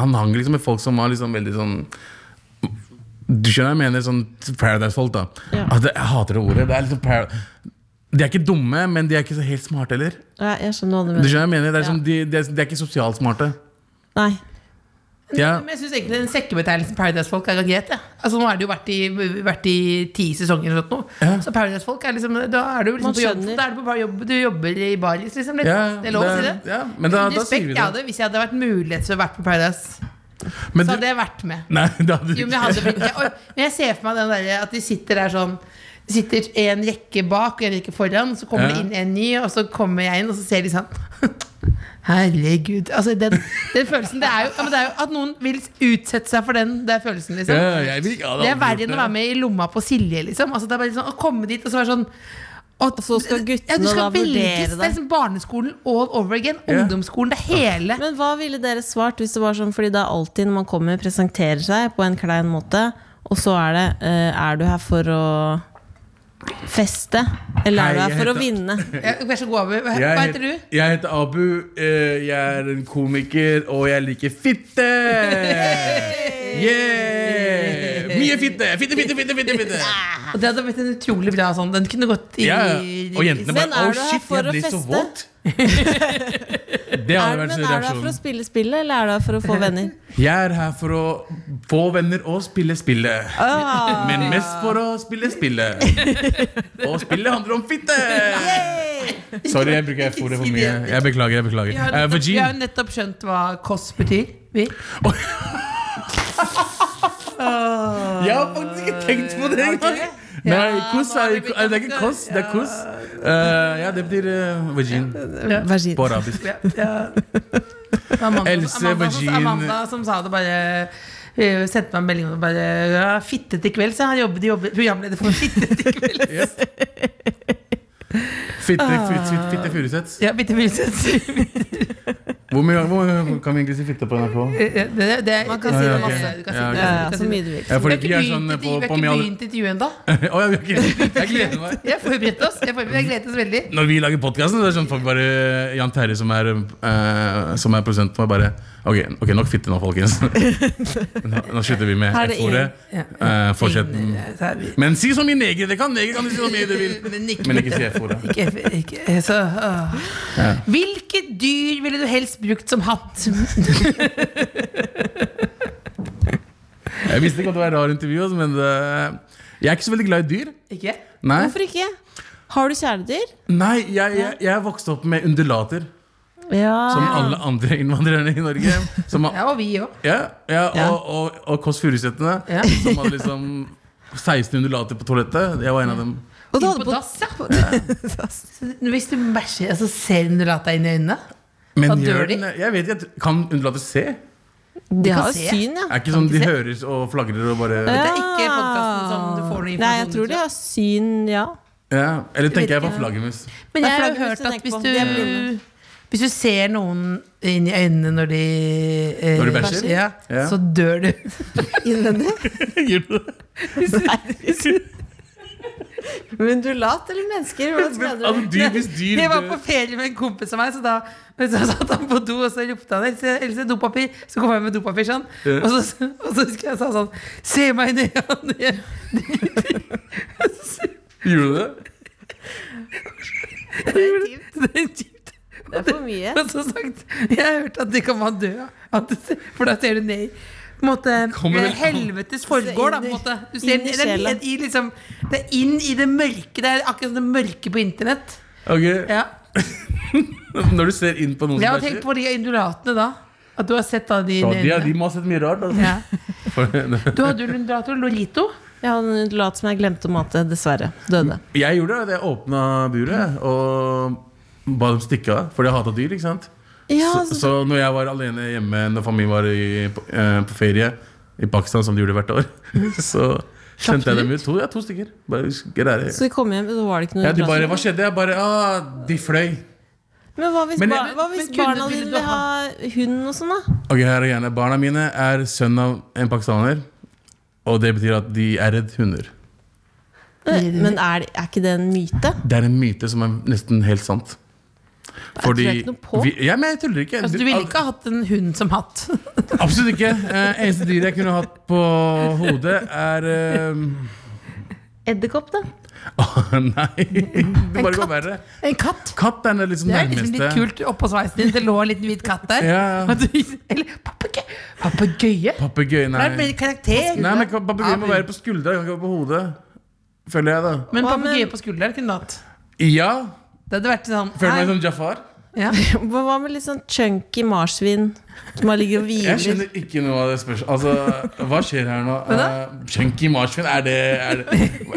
Speaker 4: Han hang liksom med folk som var liksom veldig sånn Du skjønner hva jeg mener? Sånn Paradise Folk, da.
Speaker 5: Ja.
Speaker 4: At det- jeg hater det ordet. Det er liksom para de er ikke dumme, men de er ikke så helt smarte heller.
Speaker 5: Ja, jeg skjønner hva du
Speaker 4: Du
Speaker 5: mener.
Speaker 4: skjønner hva jeg mener? Det er som, de, de, er, de er ikke sosialt smarte.
Speaker 5: Nei.
Speaker 4: Ja.
Speaker 7: Men jeg synes egentlig den sekkebetegnelsen Paradise-folk er greit. Ja. Altså, nå har det jo vært i, vært i ti sesonger eller noe.
Speaker 4: Ja.
Speaker 7: Så Paradise-folk er liksom Da er du
Speaker 5: Man
Speaker 7: liksom på jobb,
Speaker 5: skjønner.
Speaker 7: da er du på bar- jobb, du jobber i baris, liksom. Litt.
Speaker 4: Ja,
Speaker 7: det er lov å si det.
Speaker 4: det- ja, men da- da
Speaker 7: Hvilken
Speaker 4: sier vi
Speaker 7: respekt
Speaker 4: det.
Speaker 7: jeg hadde hvis jeg hadde vært mulighet til å vært på Paradise,
Speaker 4: Men
Speaker 7: så
Speaker 4: du,
Speaker 7: hadde jeg vært med.
Speaker 4: nei, det hadde du
Speaker 7: Jo, men jeg,
Speaker 4: ikke.
Speaker 7: hadde blitt, jeg, men jeg ser for meg den der, at de sitter der sånn Det sitter en rekke bak og en rekke foran, så kommer det
Speaker 4: Ja.
Speaker 7: inn en ny, og så kommer jeg inn, og så ser de sånn Herregud. Altså, den, den følelsen det er, jo, ja, men det er jo at noen vil utsette seg for den. Det er følelsen, liksom.
Speaker 4: Ja, jeg vil ikke- jeg hadde aldri
Speaker 7: det er
Speaker 4: gjort
Speaker 7: verre
Speaker 4: det.
Speaker 7: enn å være med i lomma på Silje, liksom. Altså, det er bare liksom å komme dit og så være sånn og
Speaker 5: så skal guttene
Speaker 7: ja, du skal
Speaker 5: da vurdere
Speaker 7: velges. Det
Speaker 5: deg.
Speaker 7: er liksom barneskolen all over again.
Speaker 4: Ja.
Speaker 7: Ungdomsskolen, det er hele.
Speaker 5: Men hva ville dere svart hvis det var sånn, fordi det er alltid når man kommer, presenterer seg på en klein måte, og så er det eh, Er du her for å feste, eller
Speaker 4: Hei,
Speaker 5: er du her
Speaker 4: jeg
Speaker 5: for å
Speaker 4: heter-
Speaker 5: vinne?
Speaker 7: Jeg, vær så god, Abu. Hva,
Speaker 4: Jeg
Speaker 7: hva heter du?
Speaker 4: Jeg heter Abu. eh, Jeg er en komiker, og jeg liker fitte! Yeah! Mye fitte! Fitte, fitte, fitte! fitte, fitte.
Speaker 7: Og det hadde blitt en utrolig bra sånn. Den kunne gått i
Speaker 4: Ja, ja. Og jentene bare
Speaker 5: Men er
Speaker 4: Oh
Speaker 5: du her
Speaker 4: shit,
Speaker 5: for
Speaker 4: jeg
Speaker 5: å
Speaker 4: blir så
Speaker 5: feste?
Speaker 4: våt! Det hadde vært
Speaker 5: Er,
Speaker 7: sånn
Speaker 5: men
Speaker 4: sin
Speaker 5: er du her for å
Speaker 4: reaksjon.
Speaker 5: spille spillet, eller er du her for å få venner?
Speaker 4: Jeg er her for å få venner og spille spillet.
Speaker 5: Ah.
Speaker 4: Men mest for å spille spillet. Og spillet handler om fitte! Sorry, jeg bruker F-ordet for mye. Jeg beklager. jeg beklager
Speaker 7: Vi har,
Speaker 4: Eh,
Speaker 7: nettopp, vi har
Speaker 4: Vagin.
Speaker 7: jo nettopp skjønt hva koss betyr. Vi.
Speaker 4: Jeg har faktisk ikke tenkt på det engang! Nei, koss er,
Speaker 7: Ah, nå
Speaker 4: er det er ikke koss, det er koss. Eh, ja, det betyr uh, vagin
Speaker 5: Vagin.
Speaker 4: på arabisk.
Speaker 7: Ja, ja. Amanda,
Speaker 4: Else,
Speaker 7: Amanda, som-
Speaker 4: vagin.
Speaker 7: Amanda som sa det bare eh, Sendte meg en melding og bare ja, 'Fitte til kveld', så han jobber, de jobber programleder for Fitte til kveld.
Speaker 4: Yes. Fitte,
Speaker 7: Ah.
Speaker 4: fitte, fitte, fitte Furuseths.
Speaker 7: Ja, bitte, bitte, bitte.
Speaker 4: Hvor mye hvor mye kan vi egentlig si fitte på NRK?
Speaker 7: Det, det, det, Man kan
Speaker 4: si det masse.
Speaker 7: masse. Du kan si
Speaker 4: Ja, ok.
Speaker 7: det.
Speaker 5: Ja, ja,
Speaker 7: Du kan
Speaker 5: så
Speaker 7: si det.
Speaker 5: mye du vil.
Speaker 4: Ja,
Speaker 7: Vi
Speaker 4: fordi
Speaker 7: har
Speaker 4: vi
Speaker 7: ikke
Speaker 4: er sånn
Speaker 7: begynt
Speaker 4: på,
Speaker 7: intervju-
Speaker 4: på
Speaker 7: vi har ikke
Speaker 4: Mjal...
Speaker 7: begynt intervjuet ennå.
Speaker 4: Å, ja, vi har ikke- Jeg gleder meg.
Speaker 7: Vi har forberedt oss. Vi har forberedt- vi har gledet oss veldig.
Speaker 4: Når vi lager podkasten, er det sånn får vi bare Jan Terje, som er, eh, som er produsenten vår, bare Ok, ok, nok fitte nå, folkens. nå, nå slutter vi med
Speaker 5: Her er det
Speaker 4: F-ordet. Eh, fortsett.
Speaker 7: Så er vi-
Speaker 4: Men si så mye neger dere kan! Neger kan du si så mye du vil.
Speaker 7: Men ikke-
Speaker 4: Men ikke si F-ordet.
Speaker 7: Ikke- ikke- så, åh. Hvilket dyr ville du helst brukt som hatt?
Speaker 4: Jeg visste ikke at det var et rart intervju, altså, men det- jeg er ikke så veldig glad i dyr.
Speaker 7: Ikke?
Speaker 4: Nei,
Speaker 5: Hvorfor ikke? Har du kjæledyr?
Speaker 4: Nei jeg, jeg, jeg er vokst opp med undulater, som
Speaker 5: Ja.
Speaker 4: alle andre innvandrerne i Norge. Som har
Speaker 7: Ja, og vi òg.
Speaker 4: Ja, ja,
Speaker 5: Ja.
Speaker 4: Og, og, og Kåss Furusethene,
Speaker 7: Ja.
Speaker 4: som hadde liksom 16 undulater på toalettet. Jeg var en av dem.
Speaker 5: Og du
Speaker 7: Inn
Speaker 5: hadde
Speaker 7: på
Speaker 5: på
Speaker 7: dass, ja. Så Hvis du bæsjer, så ser den du later deg inn i øynene?
Speaker 4: Men
Speaker 7: Hva dør
Speaker 4: gjør
Speaker 7: de?
Speaker 4: den, jeg vet ikke, kan undulater se? Er
Speaker 5: De har
Speaker 7: se.
Speaker 5: jo syn, ja.
Speaker 4: ikke sånn
Speaker 7: de
Speaker 4: de
Speaker 7: se?
Speaker 4: høres og flagrer og bare
Speaker 7: Det
Speaker 4: ja.
Speaker 7: er ikke podcasten som du får noe
Speaker 5: Nei, jeg
Speaker 7: informasjon
Speaker 5: tror de har syn, ja.
Speaker 4: Eller tenker jeg på flaggermus?
Speaker 7: Men jeg har
Speaker 5: Det
Speaker 7: jo
Speaker 5: er flaggermus
Speaker 7: hørt
Speaker 5: du
Speaker 7: at
Speaker 5: tenker
Speaker 7: hvis
Speaker 5: på.
Speaker 7: du
Speaker 5: De er blinde.
Speaker 7: hvis du ser noen inn i øynene når de eh,
Speaker 4: Når de bæsjer?
Speaker 7: Ja,
Speaker 4: Ja.
Speaker 7: så dør du.
Speaker 5: Innvendig.
Speaker 4: Gjør du det?
Speaker 5: Undulat eller mennesker? Hvordan
Speaker 4: Men,
Speaker 5: mener
Speaker 4: altså,
Speaker 5: du?
Speaker 4: dyr, hvis dyr
Speaker 7: Jeg var
Speaker 4: dør-
Speaker 7: på ferie med en kompis av meg, så da men så satt han på do, og så ropte han Else, Else dopapir. Så kom jeg med dopapir sånn.
Speaker 4: Ja.
Speaker 7: Og så, og så husker jeg jeg sa sånn Se meg i øynene!
Speaker 4: Gjør du det?
Speaker 7: Det er kjipt.
Speaker 5: Det er for mye.
Speaker 7: Og så sagt Jeg har hørt at det kan man dø av. At det- For da ser du ned i på en måte,
Speaker 4: Kommer
Speaker 7: det er
Speaker 4: vel-
Speaker 7: helvetes forgård, da. På en måte. Du ser,
Speaker 5: Inn i
Speaker 7: det, er,
Speaker 5: sjela.
Speaker 7: ned i liksom, det er inn i det mørke. Det er akkurat som det mørke på internett.
Speaker 4: Ok,
Speaker 7: Ja.
Speaker 4: Når du ser inn på noen
Speaker 7: Jeg har
Speaker 4: som bæsjer
Speaker 7: tenkt på de undulatene da. At du har sett da de
Speaker 4: ja, de,
Speaker 7: øynene.
Speaker 4: de må ha sett mye rart. Altså.
Speaker 7: Ja. Du hadde jo undulator lorito.
Speaker 5: Jeg hadde en undulat som jeg glemte å mate, dessverre. Døde.
Speaker 4: Jeg gjorde det. Jeg åpna buret og ba dem stikke av, fordi jeg hata dyr. ikke sant?
Speaker 5: Ja, altså,
Speaker 4: Så, så når jeg var alene hjemme når familien var i, på, eh, på ferie i Pakistan, som de gjorde hvert år, så sendte jeg dem ut. To, ja, to stykker. Bare greier.
Speaker 5: så vi kom hjem, så var det ikke noe
Speaker 4: Ja, de bare Hva
Speaker 5: undulat.
Speaker 4: skjedde? Jeg bare ah, De fløy.
Speaker 5: Men hva hvis,
Speaker 4: Men-
Speaker 5: bar hva
Speaker 7: men
Speaker 5: hvis
Speaker 7: kunne-
Speaker 5: barna dine
Speaker 7: ville du
Speaker 5: vil ha hund og sånn, da?
Speaker 4: Ok, her er gjerne. Barna mine er sønn av en pakistaner, og det betyr at de er redd hunder.
Speaker 5: Men er, det- er ikke det en myte?
Speaker 4: Det er en myte som er nesten helt sant. Fordi
Speaker 5: ikke noe på.
Speaker 4: vi- ja, men jeg tuller ikke.
Speaker 7: Altså, du ville ikke ha hatt en hund som hatt?
Speaker 4: Absolutt ikke. Eh, eneste dyr jeg kunne hatt på hodet, er eh,
Speaker 5: Edderkopp, da.
Speaker 4: Å, nei! Det bare går verre.
Speaker 7: En katt?
Speaker 4: Katt er det liksom
Speaker 7: Det er
Speaker 4: nærmeste.
Speaker 7: liksom litt kult oppå sveisen din. Det lå en liten hvit katt der.
Speaker 4: Ja.
Speaker 7: Og du- Eller papegøye. Papegøye?
Speaker 4: Papegøye,
Speaker 7: Det er mer
Speaker 4: nei.
Speaker 7: karakter.
Speaker 4: Nei, men Papegøye må være på skuldra, kan ikke være på hodet. Føler jeg, da.
Speaker 7: Men
Speaker 5: Hva
Speaker 7: papegøye
Speaker 5: med-
Speaker 7: på skulderen kunne du hatt.
Speaker 4: Ja.
Speaker 7: Det hadde vært sånn
Speaker 4: Føler meg
Speaker 7: nei.
Speaker 4: som Jafar.
Speaker 7: ja.
Speaker 5: Hva hva med litt sånn chunky marsvin som har ligget og
Speaker 4: Jeg
Speaker 5: hviler?
Speaker 4: skjønner ikke noe av det spørsmålet. Altså, hva skjer her nå?
Speaker 7: da?
Speaker 4: Eh, Chunky marsvin, er det er det,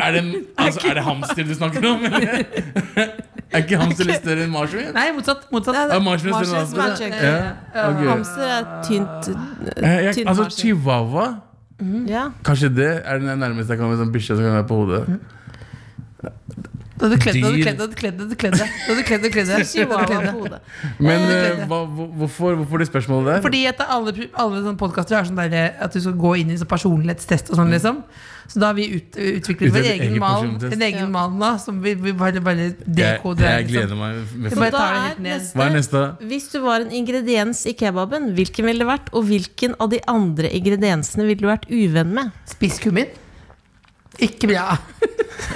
Speaker 4: er det, en- altså, er det hamster du snakker om? eller? er ikke hamster litt større enn marsvin?
Speaker 7: Nei, motsatt. motsatt.
Speaker 4: Er marsvin større enn hamster?
Speaker 5: Marsvin som er chunky.
Speaker 4: altså, Ja, ok.
Speaker 5: Hamster er tynt
Speaker 4: Eh, jeg,
Speaker 5: Tynn
Speaker 4: altså,
Speaker 5: marsvin.
Speaker 4: chihuahua
Speaker 5: Ja.
Speaker 4: Kanskje det er den nærmeste jeg kan med sånn bikkje som kan være på hodet.
Speaker 7: Du hadde kledd deg, du
Speaker 4: Dyr.
Speaker 7: hadde kledd deg, du hadde kledd deg. Du hadde kledd deg, du hadde kledd deg. Du hadde kledd
Speaker 5: Chihuahua
Speaker 7: deg.
Speaker 5: på hodet.
Speaker 4: Men eh, hva, hvor- hvorfor, hvorfor det spørsmålet der?
Speaker 7: Fordi at alle, alle sånne podkaster har sånn der, at du skal gå inn i en sånn personlighetstest og sånn, liksom. Så da har vi ut, eh, utviklet vår
Speaker 4: Utviklet
Speaker 7: egen
Speaker 4: egen
Speaker 7: mal,
Speaker 4: personlighetstest.
Speaker 7: en egen
Speaker 5: Ja.
Speaker 7: mal nå, som vi, vi bare, bare
Speaker 4: jeg,
Speaker 7: dekoder.
Speaker 4: jeg gleder meg. mest.
Speaker 7: Bare
Speaker 5: Så da
Speaker 7: tar liksom. det helt
Speaker 5: er
Speaker 7: ned.
Speaker 4: Hva er
Speaker 5: neste
Speaker 4: neste?
Speaker 5: Hvis du var en ingrediens i kebaben, hvilken ville det vært? Og hvilken av de andre ingrediensene ville du vært uvenn med?
Speaker 7: Spiss kummin? Ikke bra.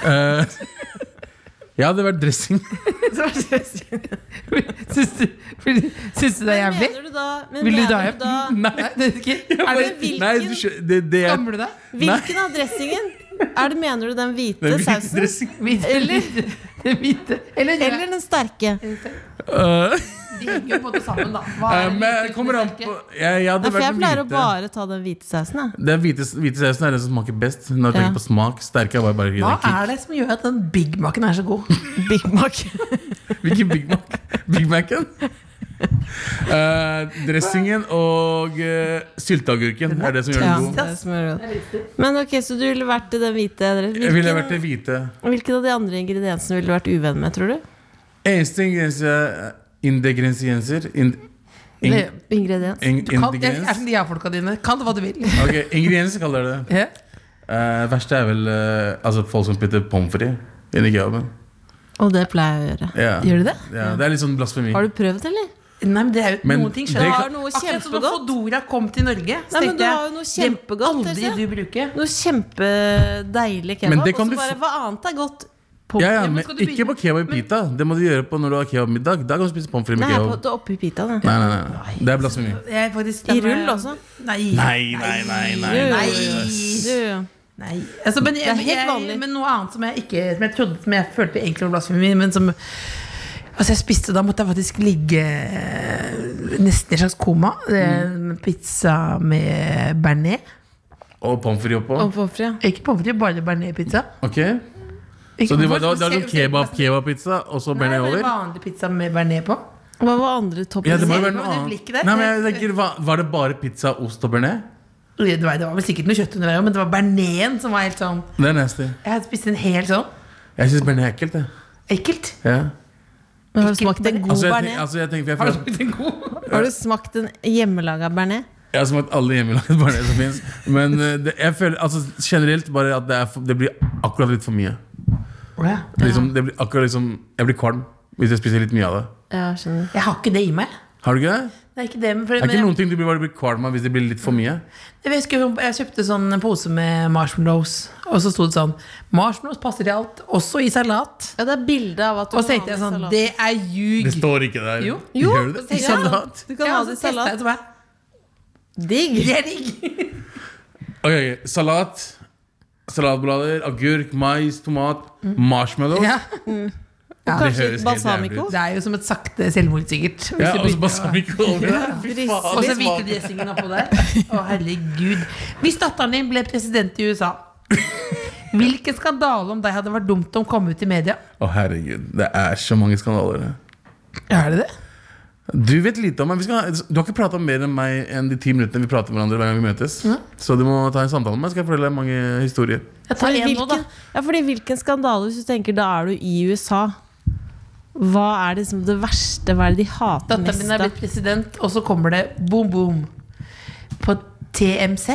Speaker 4: Eh, jeg hadde vært dressing.
Speaker 7: Syns du, syns du det er jævlig?
Speaker 5: Mener du da, men
Speaker 7: Vil du
Speaker 5: mener
Speaker 7: da
Speaker 5: du da Mm.
Speaker 7: Nei, det er ikke er det,
Speaker 5: hvilken-
Speaker 4: Nei, du, skjø- det, det er
Speaker 7: Skammer du deg?
Speaker 5: Hvilken av dressingen? Er det, mener du den hvite
Speaker 4: det er hvit
Speaker 5: sausen?
Speaker 4: dressing.
Speaker 7: Hvite-
Speaker 5: Eller-
Speaker 7: det hvite. Eller,
Speaker 5: Eller den sterke?
Speaker 4: Eh,
Speaker 7: De henger jo på en måte sammen, da. Hva er
Speaker 4: eh,
Speaker 7: det
Speaker 4: men
Speaker 7: hvite
Speaker 4: kommer an
Speaker 7: sterke?
Speaker 4: på Jeg, jeg hadde
Speaker 5: Nei, for
Speaker 4: vært
Speaker 5: jeg
Speaker 4: den
Speaker 5: pleier å
Speaker 4: hvite.
Speaker 5: bare ta den hvite sausen. Jeg.
Speaker 4: Den hvite, hvite sausen er den som smaker best. Når jeg
Speaker 5: Ja.
Speaker 4: tenker på smak, sterke er bare, bare
Speaker 7: Hva
Speaker 4: kick.
Speaker 7: er det som gjør at den Big Mac-en er så god?
Speaker 5: Big Mac.
Speaker 4: Hvilken Big Mac? Big Mac-en? Eh, dressingen og eh, sylteagurken er det som gjør
Speaker 5: Ja,
Speaker 4: den
Speaker 5: det
Speaker 4: god.
Speaker 5: er som er godt. Men ok, så du ville vært den hvite? dress-
Speaker 4: Jeg ville vært det
Speaker 5: Hvilken,
Speaker 4: hvite.
Speaker 5: hvilken av de andre ingrediensene ville du vært uvenn med, tror du?
Speaker 4: Eneste ingrediens eh, Ingredienser in, in,
Speaker 7: Det-
Speaker 5: Ingrediens.
Speaker 4: in,
Speaker 7: Du kan, jeg er
Speaker 4: Ingrediens?
Speaker 7: som de ja-folka dine. Kall det hva du vil.
Speaker 4: Ok, ingredienser kaller jeg det. Eh, verste er vel eh, altså folk som spytter pommes frites inni kebaben.
Speaker 5: Og det pleier jeg å gjøre.
Speaker 4: Ja.
Speaker 7: Gjør du det?
Speaker 4: Ja, det er litt sånn blasfemi.
Speaker 5: Har du prøvd, eller?
Speaker 7: Nei, men det er jo
Speaker 4: Men
Speaker 7: noen ting
Speaker 4: det
Speaker 7: skjønner jeg.
Speaker 4: kan-
Speaker 5: Du har noe
Speaker 7: Akkurat som da
Speaker 5: kjempegodt.
Speaker 7: Fodora kom til Norge. så
Speaker 5: Nei, men
Speaker 7: tenkte
Speaker 5: du
Speaker 7: jeg,
Speaker 5: har jo noe
Speaker 7: det må
Speaker 5: kjempegodt,
Speaker 7: Aldri
Speaker 5: Else.
Speaker 7: du bruker.
Speaker 5: Noe kjempedeilig
Speaker 4: Men
Speaker 5: kebab.
Speaker 4: det
Speaker 5: Og
Speaker 4: kan
Speaker 5: så
Speaker 4: du
Speaker 5: bare
Speaker 4: få-
Speaker 5: hva annet er godt?
Speaker 4: Ja, ja,
Speaker 7: Ja, men
Speaker 4: men
Speaker 7: skal du
Speaker 4: ikke på kebab
Speaker 7: begynne-
Speaker 4: i pita. Det må du gjøre på når du har kebabmiddag. Da kan du spise pommes frites
Speaker 5: Nei,
Speaker 4: med
Speaker 5: jeg er på,
Speaker 4: kebab.
Speaker 5: det er oppi pitaen. jeg.
Speaker 4: Nei, nei, nei. Det er blasfemi.
Speaker 7: Jeg er faktisk,
Speaker 5: I rull også.
Speaker 7: Nei.
Speaker 4: Nei, nei, nei, nei,
Speaker 5: Jo, jo,
Speaker 4: nei.
Speaker 5: jo.
Speaker 7: Nei.
Speaker 5: Jo, jo.
Speaker 7: Nei. Altså, men,
Speaker 5: er
Speaker 7: men
Speaker 5: helt
Speaker 7: jeg,
Speaker 5: vanlig.
Speaker 7: Men noe annet som jeg ikke Som jeg trodde Som jeg følte egentlig var blasfemi, men som Altså, jeg spiste Da måtte jeg faktisk ligge eh, nesten i en slags koma. Det er en Pizza med bearnés.
Speaker 4: Og pommes frites oppå.
Speaker 5: Og pommes frites. ja.
Speaker 7: Ikke pommes frites, bare bearnés-pizza.
Speaker 4: Ok,
Speaker 7: Ikke
Speaker 4: Så det var,
Speaker 7: pommes
Speaker 4: det var,
Speaker 7: frites,
Speaker 4: det var sånn
Speaker 7: men selv-
Speaker 4: kebab, kebabpizza, og så
Speaker 7: Nei,
Speaker 4: bearnés
Speaker 7: bare
Speaker 4: over?
Speaker 7: vanlig pizza med bearnés på.
Speaker 5: Hva var andre
Speaker 4: Ja, det må
Speaker 5: toppings?
Speaker 4: jo
Speaker 7: Ser
Speaker 4: være
Speaker 7: du
Speaker 4: noe
Speaker 7: på det
Speaker 4: annet.
Speaker 7: blikket der?
Speaker 4: Nei, men jeg tenker, hva- Var det bare pizza, ost og bearnés?
Speaker 7: Det var, det var vel sikkert noe kjøtt under der også, men det var bearnésen som var helt sånn
Speaker 4: Det er nasty.
Speaker 7: Jeg hadde spist en hel sånn.
Speaker 4: Jeg syns bearnés er ekkelt. jeg.
Speaker 7: Ekkelt.
Speaker 4: Ja.
Speaker 5: Men Har du smakt en god
Speaker 4: Altså, jeg, tenk-
Speaker 5: bearnés?
Speaker 4: altså, jeg tenker, for
Speaker 7: Har
Speaker 4: jeg,
Speaker 7: du
Speaker 4: føler-
Speaker 7: smakt en god?
Speaker 5: Har du smakt en hjemmelaga bearnés?
Speaker 4: jeg har smakt alle hjemmelaget bearnés som fins. Men eh, det, jeg føler altså, generelt bare at det, er, for- det blir akkurat litt for mye.
Speaker 7: Å ja.
Speaker 4: Liksom, det blir akkurat liksom, jeg blir kvalm hvis jeg spiser litt mye av det.
Speaker 5: Ja, skjønner.
Speaker 7: Jeg har ikke det i meg.
Speaker 4: Har du ikke det?
Speaker 7: Det er ikke det, men for,
Speaker 4: Det er
Speaker 7: men
Speaker 4: ikke
Speaker 7: jeg,
Speaker 4: noen ting du blir, bare blir kvalm av hvis det blir litt for mye.
Speaker 7: jeg, husker jo- jeg kjøpte sånn en pose med marshmallows, og så sto det sånn Marshmallows passer i alt, også i salat.
Speaker 5: Ja, det er bilde av at du
Speaker 7: Og så
Speaker 5: kan ha
Speaker 7: tenkte jeg
Speaker 5: det i
Speaker 7: sånn
Speaker 5: salat.
Speaker 7: Det er ljug.
Speaker 4: Det står ikke der.
Speaker 7: Jo.
Speaker 5: Jo,
Speaker 4: Gjør det?
Speaker 5: ja.
Speaker 4: I salat?
Speaker 5: Du kan
Speaker 7: Ja,
Speaker 5: ha
Speaker 7: og
Speaker 5: det i
Speaker 7: så testet jeg,
Speaker 5: salat.
Speaker 7: så bare,
Speaker 5: Digg!
Speaker 7: Det er digg.
Speaker 4: Ok, ok, Salat, salatblader, agurk, mais, tomat, marshmallows.
Speaker 7: Ja.
Speaker 5: Og kanskje
Speaker 4: høres
Speaker 5: litt
Speaker 4: helt
Speaker 5: balsamico.
Speaker 7: Det er jo som et sakte selvmord, sikkert. hvis
Speaker 4: Ja, altså, sånn.
Speaker 7: du
Speaker 4: og så
Speaker 7: begynner å-
Speaker 4: balsamico over det.
Speaker 5: Fy
Speaker 7: Og
Speaker 5: faen.
Speaker 7: så hvite dressingen oppå der. Å, herregud. Hvis datteren din ble president i USA, hvilken skandale om deg hadde vært dumt om kom ut i media?
Speaker 4: Å, herregud. Det er så mange skandaler. det.
Speaker 7: Er det det?
Speaker 4: Du vet lite om meg. Vi skal, du har ikke prata mer enn meg enn de ti minuttene vi prater med hverandre hver gang vi møtes. Så du må ta en samtale med meg, skal jeg fortelle deg mange historier.
Speaker 7: Jeg tar
Speaker 5: Fordi
Speaker 7: en nå, da.
Speaker 5: hvilken, ja, fordi hvilken skandale, hvis du tenker da er du i USA Hva er det, som det verste? Hva er det de hater
Speaker 7: Datteren
Speaker 5: mest?
Speaker 7: min er
Speaker 5: da?
Speaker 7: blitt president, og så kommer det boom, boom. På TMZ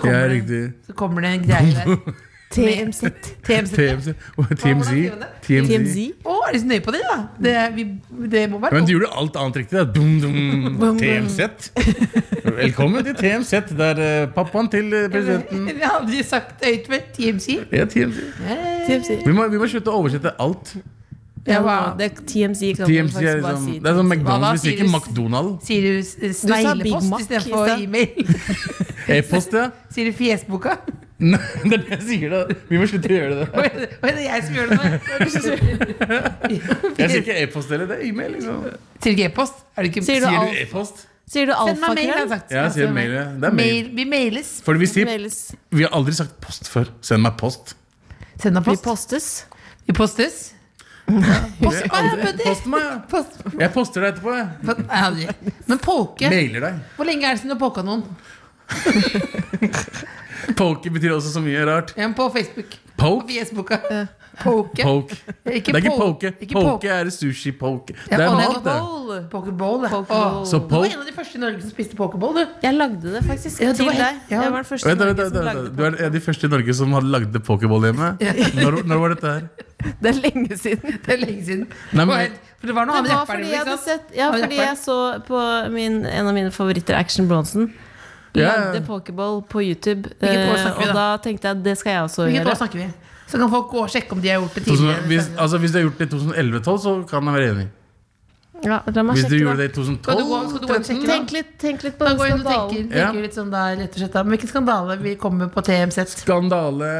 Speaker 4: Ja,
Speaker 7: kommer, det,
Speaker 4: riktig.
Speaker 7: så kommer det en greie der.
Speaker 5: TMZ.
Speaker 7: TMZ.
Speaker 4: TMZ. TMZ.
Speaker 5: TMZ.
Speaker 4: TMZ.
Speaker 7: Å, er de så nøye på det, da? Det, er- vi, det må være
Speaker 4: Men du gjorde alt annet riktig. Da. Dum, dum,
Speaker 5: Bum, bum.
Speaker 4: TMZ. Velkommen til TMZ. Det er eh, pappaen til eh, presidenten.
Speaker 7: Jeg har aldri sagt høyt med TMZ.
Speaker 4: Ja, TMZ.
Speaker 5: TMZ.
Speaker 4: Vi må, vi må slutte å oversette alt.
Speaker 5: Ja, hva? det, TMZ kan man
Speaker 4: TMZ
Speaker 5: faktisk
Speaker 4: er
Speaker 5: bare
Speaker 4: liksom,
Speaker 5: si.
Speaker 4: det er sånn
Speaker 7: Hva da,
Speaker 4: McDonald's. Vi sier ikke
Speaker 7: sier du-
Speaker 4: McDonald.
Speaker 7: Sier du s-
Speaker 5: Big
Speaker 7: sneglepost
Speaker 5: Mac
Speaker 7: istedenfor
Speaker 5: i sted.
Speaker 7: e-mail?
Speaker 4: E-post, ja.
Speaker 7: Sier du fjesboka?
Speaker 4: Nei, det er det jeg sier. da Vi må slutte å gjøre det.
Speaker 7: Hva
Speaker 4: der.
Speaker 7: er det hva er det jeg som gjør det nå?
Speaker 4: Jeg sier ikke e-post heller. Det er e-mail. liksom
Speaker 7: Sier du ikke e-post? Er det ikke
Speaker 5: Sier du
Speaker 4: Sier
Speaker 5: alt?
Speaker 4: du e-post?
Speaker 5: Sier du
Speaker 7: Send meg mail, har jeg
Speaker 5: alfakrøll?
Speaker 7: sagt.
Speaker 4: Ja, jeg sier
Speaker 7: Send meg-
Speaker 4: mail. ja. Det er mail.
Speaker 7: Mail, vi mailes.
Speaker 4: Fordi vi sier
Speaker 5: Mailes.
Speaker 4: Vi har aldri sagt post før. Send meg post.
Speaker 7: Send meg
Speaker 5: Vi
Speaker 7: post.
Speaker 5: postes.
Speaker 7: Vi postes. Post
Speaker 4: Jeg
Speaker 7: meg,
Speaker 4: aldri-
Speaker 7: buddy.
Speaker 4: Post meg, ja.
Speaker 7: Post.
Speaker 4: Jeg poster deg etterpå. jeg.
Speaker 7: Post- Nei, aldri. Men poke
Speaker 4: Mailer deg.
Speaker 7: Hvor lenge er det siden du har poka noen?
Speaker 4: Poke betyr også så mye rart.
Speaker 7: Ja, På Facebook. På
Speaker 4: Poke?
Speaker 7: Facebooka. Poke.
Speaker 4: Poke. Det er ikke poke.
Speaker 7: Ikke poke.
Speaker 4: Poke er sushi-poke.
Speaker 7: Ja,
Speaker 4: Det er
Speaker 7: og
Speaker 4: noe
Speaker 7: det
Speaker 4: annet, det.
Speaker 5: Bowl.
Speaker 7: Pokeball. ja.
Speaker 5: Pokeball.
Speaker 7: Åh,
Speaker 4: Så
Speaker 7: Du var
Speaker 4: poke
Speaker 7: en av de første i Norge som spiste pokeball, du.
Speaker 5: Jeg lagde det faktisk
Speaker 7: Ja, det
Speaker 5: til
Speaker 7: var
Speaker 5: deg.
Speaker 7: helt- ja.
Speaker 5: Jeg var den første
Speaker 4: Vent,
Speaker 5: i
Speaker 4: vent,
Speaker 5: Norge
Speaker 4: vent,
Speaker 5: som
Speaker 4: vent,
Speaker 5: lagde
Speaker 4: Du er en av de første i Norge som hadde lagd pokerball hjemme. Når, når var dette her?
Speaker 5: det. Det er lenge siden.
Speaker 7: Det er lenge siden.
Speaker 4: Nei, men-
Speaker 7: Det var helt- for det var noe
Speaker 5: Det
Speaker 7: annet
Speaker 5: var fordi jeg hadde sett Ja, fordi jeg så på min, en av mine favoritter, Action Bronson.
Speaker 4: Ja, ja.
Speaker 5: Lagde pokerball på YouTube.
Speaker 7: Hvilket år
Speaker 5: eh,
Speaker 7: snakker vi
Speaker 5: og
Speaker 7: da?
Speaker 5: da tenkte jeg det skal jeg også
Speaker 7: Hvilket år
Speaker 5: gjøre.
Speaker 7: snakker vi? Så kan folk gå og sjekke om de har gjort det
Speaker 4: 2000, hvis,
Speaker 7: tidligere. liksom.
Speaker 4: altså, hvis du har gjort det i 2011-2012, så kan jeg være enig.
Speaker 5: Ja, la meg
Speaker 4: Hvis du
Speaker 5: sjekke
Speaker 4: gjorde
Speaker 5: da.
Speaker 4: det i
Speaker 7: Skal du gå- skal du gå og
Speaker 4: 2012
Speaker 7: sjekke
Speaker 5: Tenk litt, tenk litt på
Speaker 7: Da
Speaker 5: den
Speaker 7: går jeg inn og
Speaker 5: skandalen.
Speaker 7: tenker,
Speaker 4: Ja.
Speaker 7: tenker litt sånn da, rett og slett da. Men Hvilken skandale vi kommer på TMZ?
Speaker 4: Skandale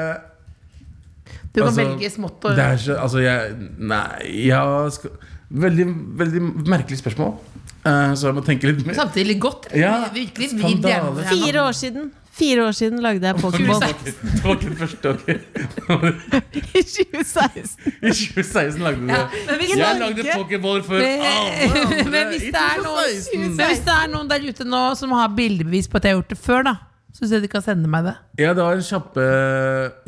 Speaker 7: Du kan
Speaker 4: Altså,
Speaker 7: velge smått og
Speaker 4: Det er så, altså jeg, Nei, jeg har sk- veldig, veldig merkelig spørsmål. eh, så jeg må tenke litt mer.
Speaker 7: Samtidig litt godt.
Speaker 4: Ja,
Speaker 7: Vi- Virkelig vri
Speaker 4: skandale.
Speaker 7: det her nå.
Speaker 5: Fire år siden Fire år siden lagde jeg
Speaker 4: Det var
Speaker 5: pokerball
Speaker 4: ikke det var ikke den første, ok.
Speaker 5: i 2016.
Speaker 4: I 2016 lagde du det.
Speaker 7: Men hvis,
Speaker 4: Jeg
Speaker 7: Norge-
Speaker 4: lagde pokerball før
Speaker 7: Men-
Speaker 4: alle andre.
Speaker 7: men hvis
Speaker 4: i
Speaker 7: det er noen
Speaker 4: 2016.
Speaker 7: Men hvis det er noen der ute nå som har bildebevis på at jeg har gjort det før, da så syns jeg de kan sende meg det.
Speaker 4: Ja, det var en kjappe,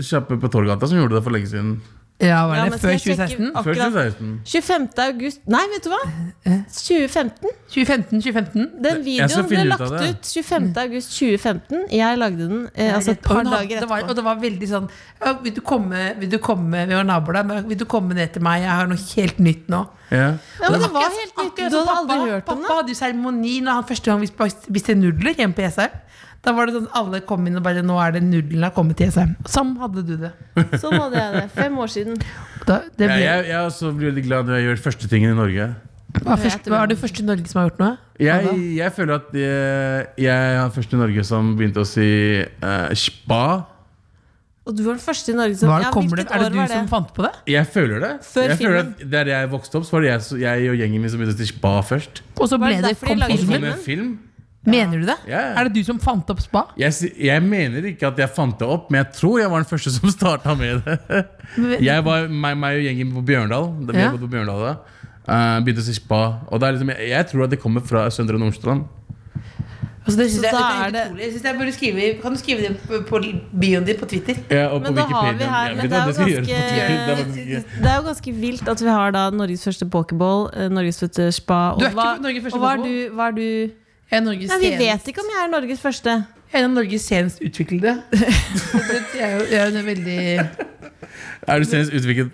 Speaker 4: kjappe på Torgata som gjorde det for lenge siden.
Speaker 7: Ja, var
Speaker 5: Ja,
Speaker 7: det
Speaker 5: men skal
Speaker 7: før
Speaker 5: jeg sjekke
Speaker 7: 2016?
Speaker 4: Før
Speaker 5: akkurat-
Speaker 4: 2016.
Speaker 5: 25. august Nei, vet du hva? 2015.
Speaker 7: 2015, 2015?
Speaker 5: Den
Speaker 4: Jeg skal
Speaker 5: videoen ble
Speaker 4: finne ut
Speaker 5: lagt
Speaker 4: av
Speaker 5: ut,
Speaker 4: det.
Speaker 5: 25. august 2015. Jeg lagde den eh, altså et
Speaker 7: Og
Speaker 5: par
Speaker 7: hun hadde-
Speaker 5: dager
Speaker 7: det var, og
Speaker 5: etterpå.
Speaker 7: det var veldig sånn ja, Vil du komme, vil du komme Vi var naboer der, men vil du komme ned til meg? Jeg har noe helt nytt nå.
Speaker 4: Ja.
Speaker 5: Ja, men det var
Speaker 7: Akkurat-
Speaker 5: helt nytt.
Speaker 7: akkurat
Speaker 5: Du hadde
Speaker 7: som Altså, pappa.
Speaker 5: aldri hørt om
Speaker 7: Pappa
Speaker 5: det.
Speaker 7: hadde jo seremoni når han første gang vi spiste- spiste nudler hjemme på Jessheim. Da var det sånn alle kom inn og bare 'Nå er det nudlene har kommet til Jessheim'. Sånn hadde du det.
Speaker 5: Sånn hadde jeg det. Fem år siden.
Speaker 7: Da,
Speaker 4: Ja,
Speaker 7: det ble,
Speaker 4: jeg, jeg også blir veldig glad når jeg gjør første tingen i Norge.
Speaker 7: var, først, var du først i Norge som har gjort noe?
Speaker 4: Jeg, jeg føler at jeg, jeg er først i Norge som begynte å si eh, spa.
Speaker 5: Og du var den første i Norge som
Speaker 7: Var,
Speaker 5: ja,
Speaker 7: kommer det,
Speaker 5: Hvilket
Speaker 7: er det
Speaker 5: år
Speaker 7: du
Speaker 5: var det?
Speaker 7: som fant på det?
Speaker 4: Jeg føler det.
Speaker 5: Før
Speaker 4: jeg føler
Speaker 5: filmen.
Speaker 4: at Der jeg vokste opp, så var det jeg, så- jeg og gjengen min som begynte å si spa først.
Speaker 7: Og
Speaker 5: Var
Speaker 7: så ble
Speaker 5: det
Speaker 7: det
Speaker 5: derfor de
Speaker 7: kom
Speaker 5: lagde
Speaker 4: Kom
Speaker 7: filmen.
Speaker 5: filmen?
Speaker 4: med film.
Speaker 7: Mener du det?
Speaker 4: Ja.
Speaker 7: Er det du som fant opp spa?
Speaker 4: Jeg, si- jeg mener ikke at jeg fant det opp, men jeg tror jeg var den første som starta med det. Jeg var meg, meg og gjengen på Bjørndal. Da vi
Speaker 7: Ja.
Speaker 4: bodde på Bjørndal da eh, begynte å si spa. Og det er liksom, jeg, jeg tror at det kommer fra Søndre Nordstrand.
Speaker 7: Altså, det synes
Speaker 5: Så da
Speaker 7: jeg, det er
Speaker 5: er
Speaker 7: helt
Speaker 5: det-
Speaker 7: utrolig. Jeg synes jeg burde skrive, kan du skrive det på, på bioen din på Twitter?
Speaker 4: Ja, og
Speaker 5: Men
Speaker 4: på
Speaker 5: da har vi
Speaker 4: Wikipedia.
Speaker 5: her
Speaker 4: Jeg vet
Speaker 5: men det,
Speaker 4: hva
Speaker 5: er
Speaker 4: jeg skal
Speaker 5: jo
Speaker 4: gjøre på Twitter. Det var
Speaker 5: ganske,
Speaker 4: ikke-
Speaker 5: det er jo ganske vilt at vi har da Norges første pokerball, eh, Norges første spa og
Speaker 7: Du er ikke
Speaker 5: hva-
Speaker 7: Norges første
Speaker 5: og hva er du,
Speaker 7: pokerball.
Speaker 5: hva er du
Speaker 7: Jeg er Norges
Speaker 5: Nei, Vi
Speaker 7: senest-
Speaker 5: vet ikke om jeg er Norges første.
Speaker 7: Jeg er en av Norges senest utviklede. Så det- Jeg er jo jeg er jo en veldig
Speaker 4: Er du senest utviklet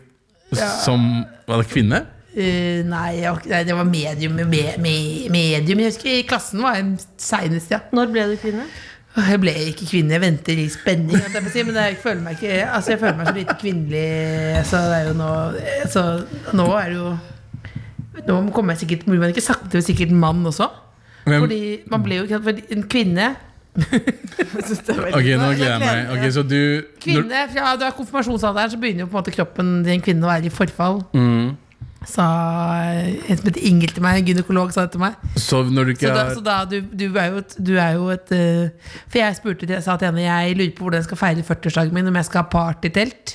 Speaker 4: som var det, kvinne?
Speaker 7: eh, nei, jeg, var ikke- nei, det var medium. Me, me, medium. Jeg husker i klassen var jeg seinest, ja.
Speaker 5: Når ble du kvinne?
Speaker 7: Åh, Jeg ble ikke kvinne, jeg venter i spenning. holdt Jeg på å si, men jeg føler meg ikke Altså, jeg føler meg så lite kvinnelig. Så det er jo nå eh, Så nå er det jo Nå kommer jeg sikkert Blir man ikke sakte, men sikkert mann også?
Speaker 4: Hvem?
Speaker 7: Fordi man ble jo ikke fordi En kvinne
Speaker 4: Ok, nå gleder jeg meg. Ok, så du når,
Speaker 7: Kvinne, fra du er konfirmasjonsalderen, så begynner jo på en måte kroppen til en kvinne å være i forfall. Sa eh, en som heter Ingel til meg, en gynekolog, sa det til meg.
Speaker 4: Så når du ikke
Speaker 7: Så da,
Speaker 4: har
Speaker 7: så da du, du er jo et, du er jo et eh, For jeg spurte til, jeg sa til henne Jeg lurer på hvordan jeg skal feire 40-årsdagen min, om jeg skal ha partytelt.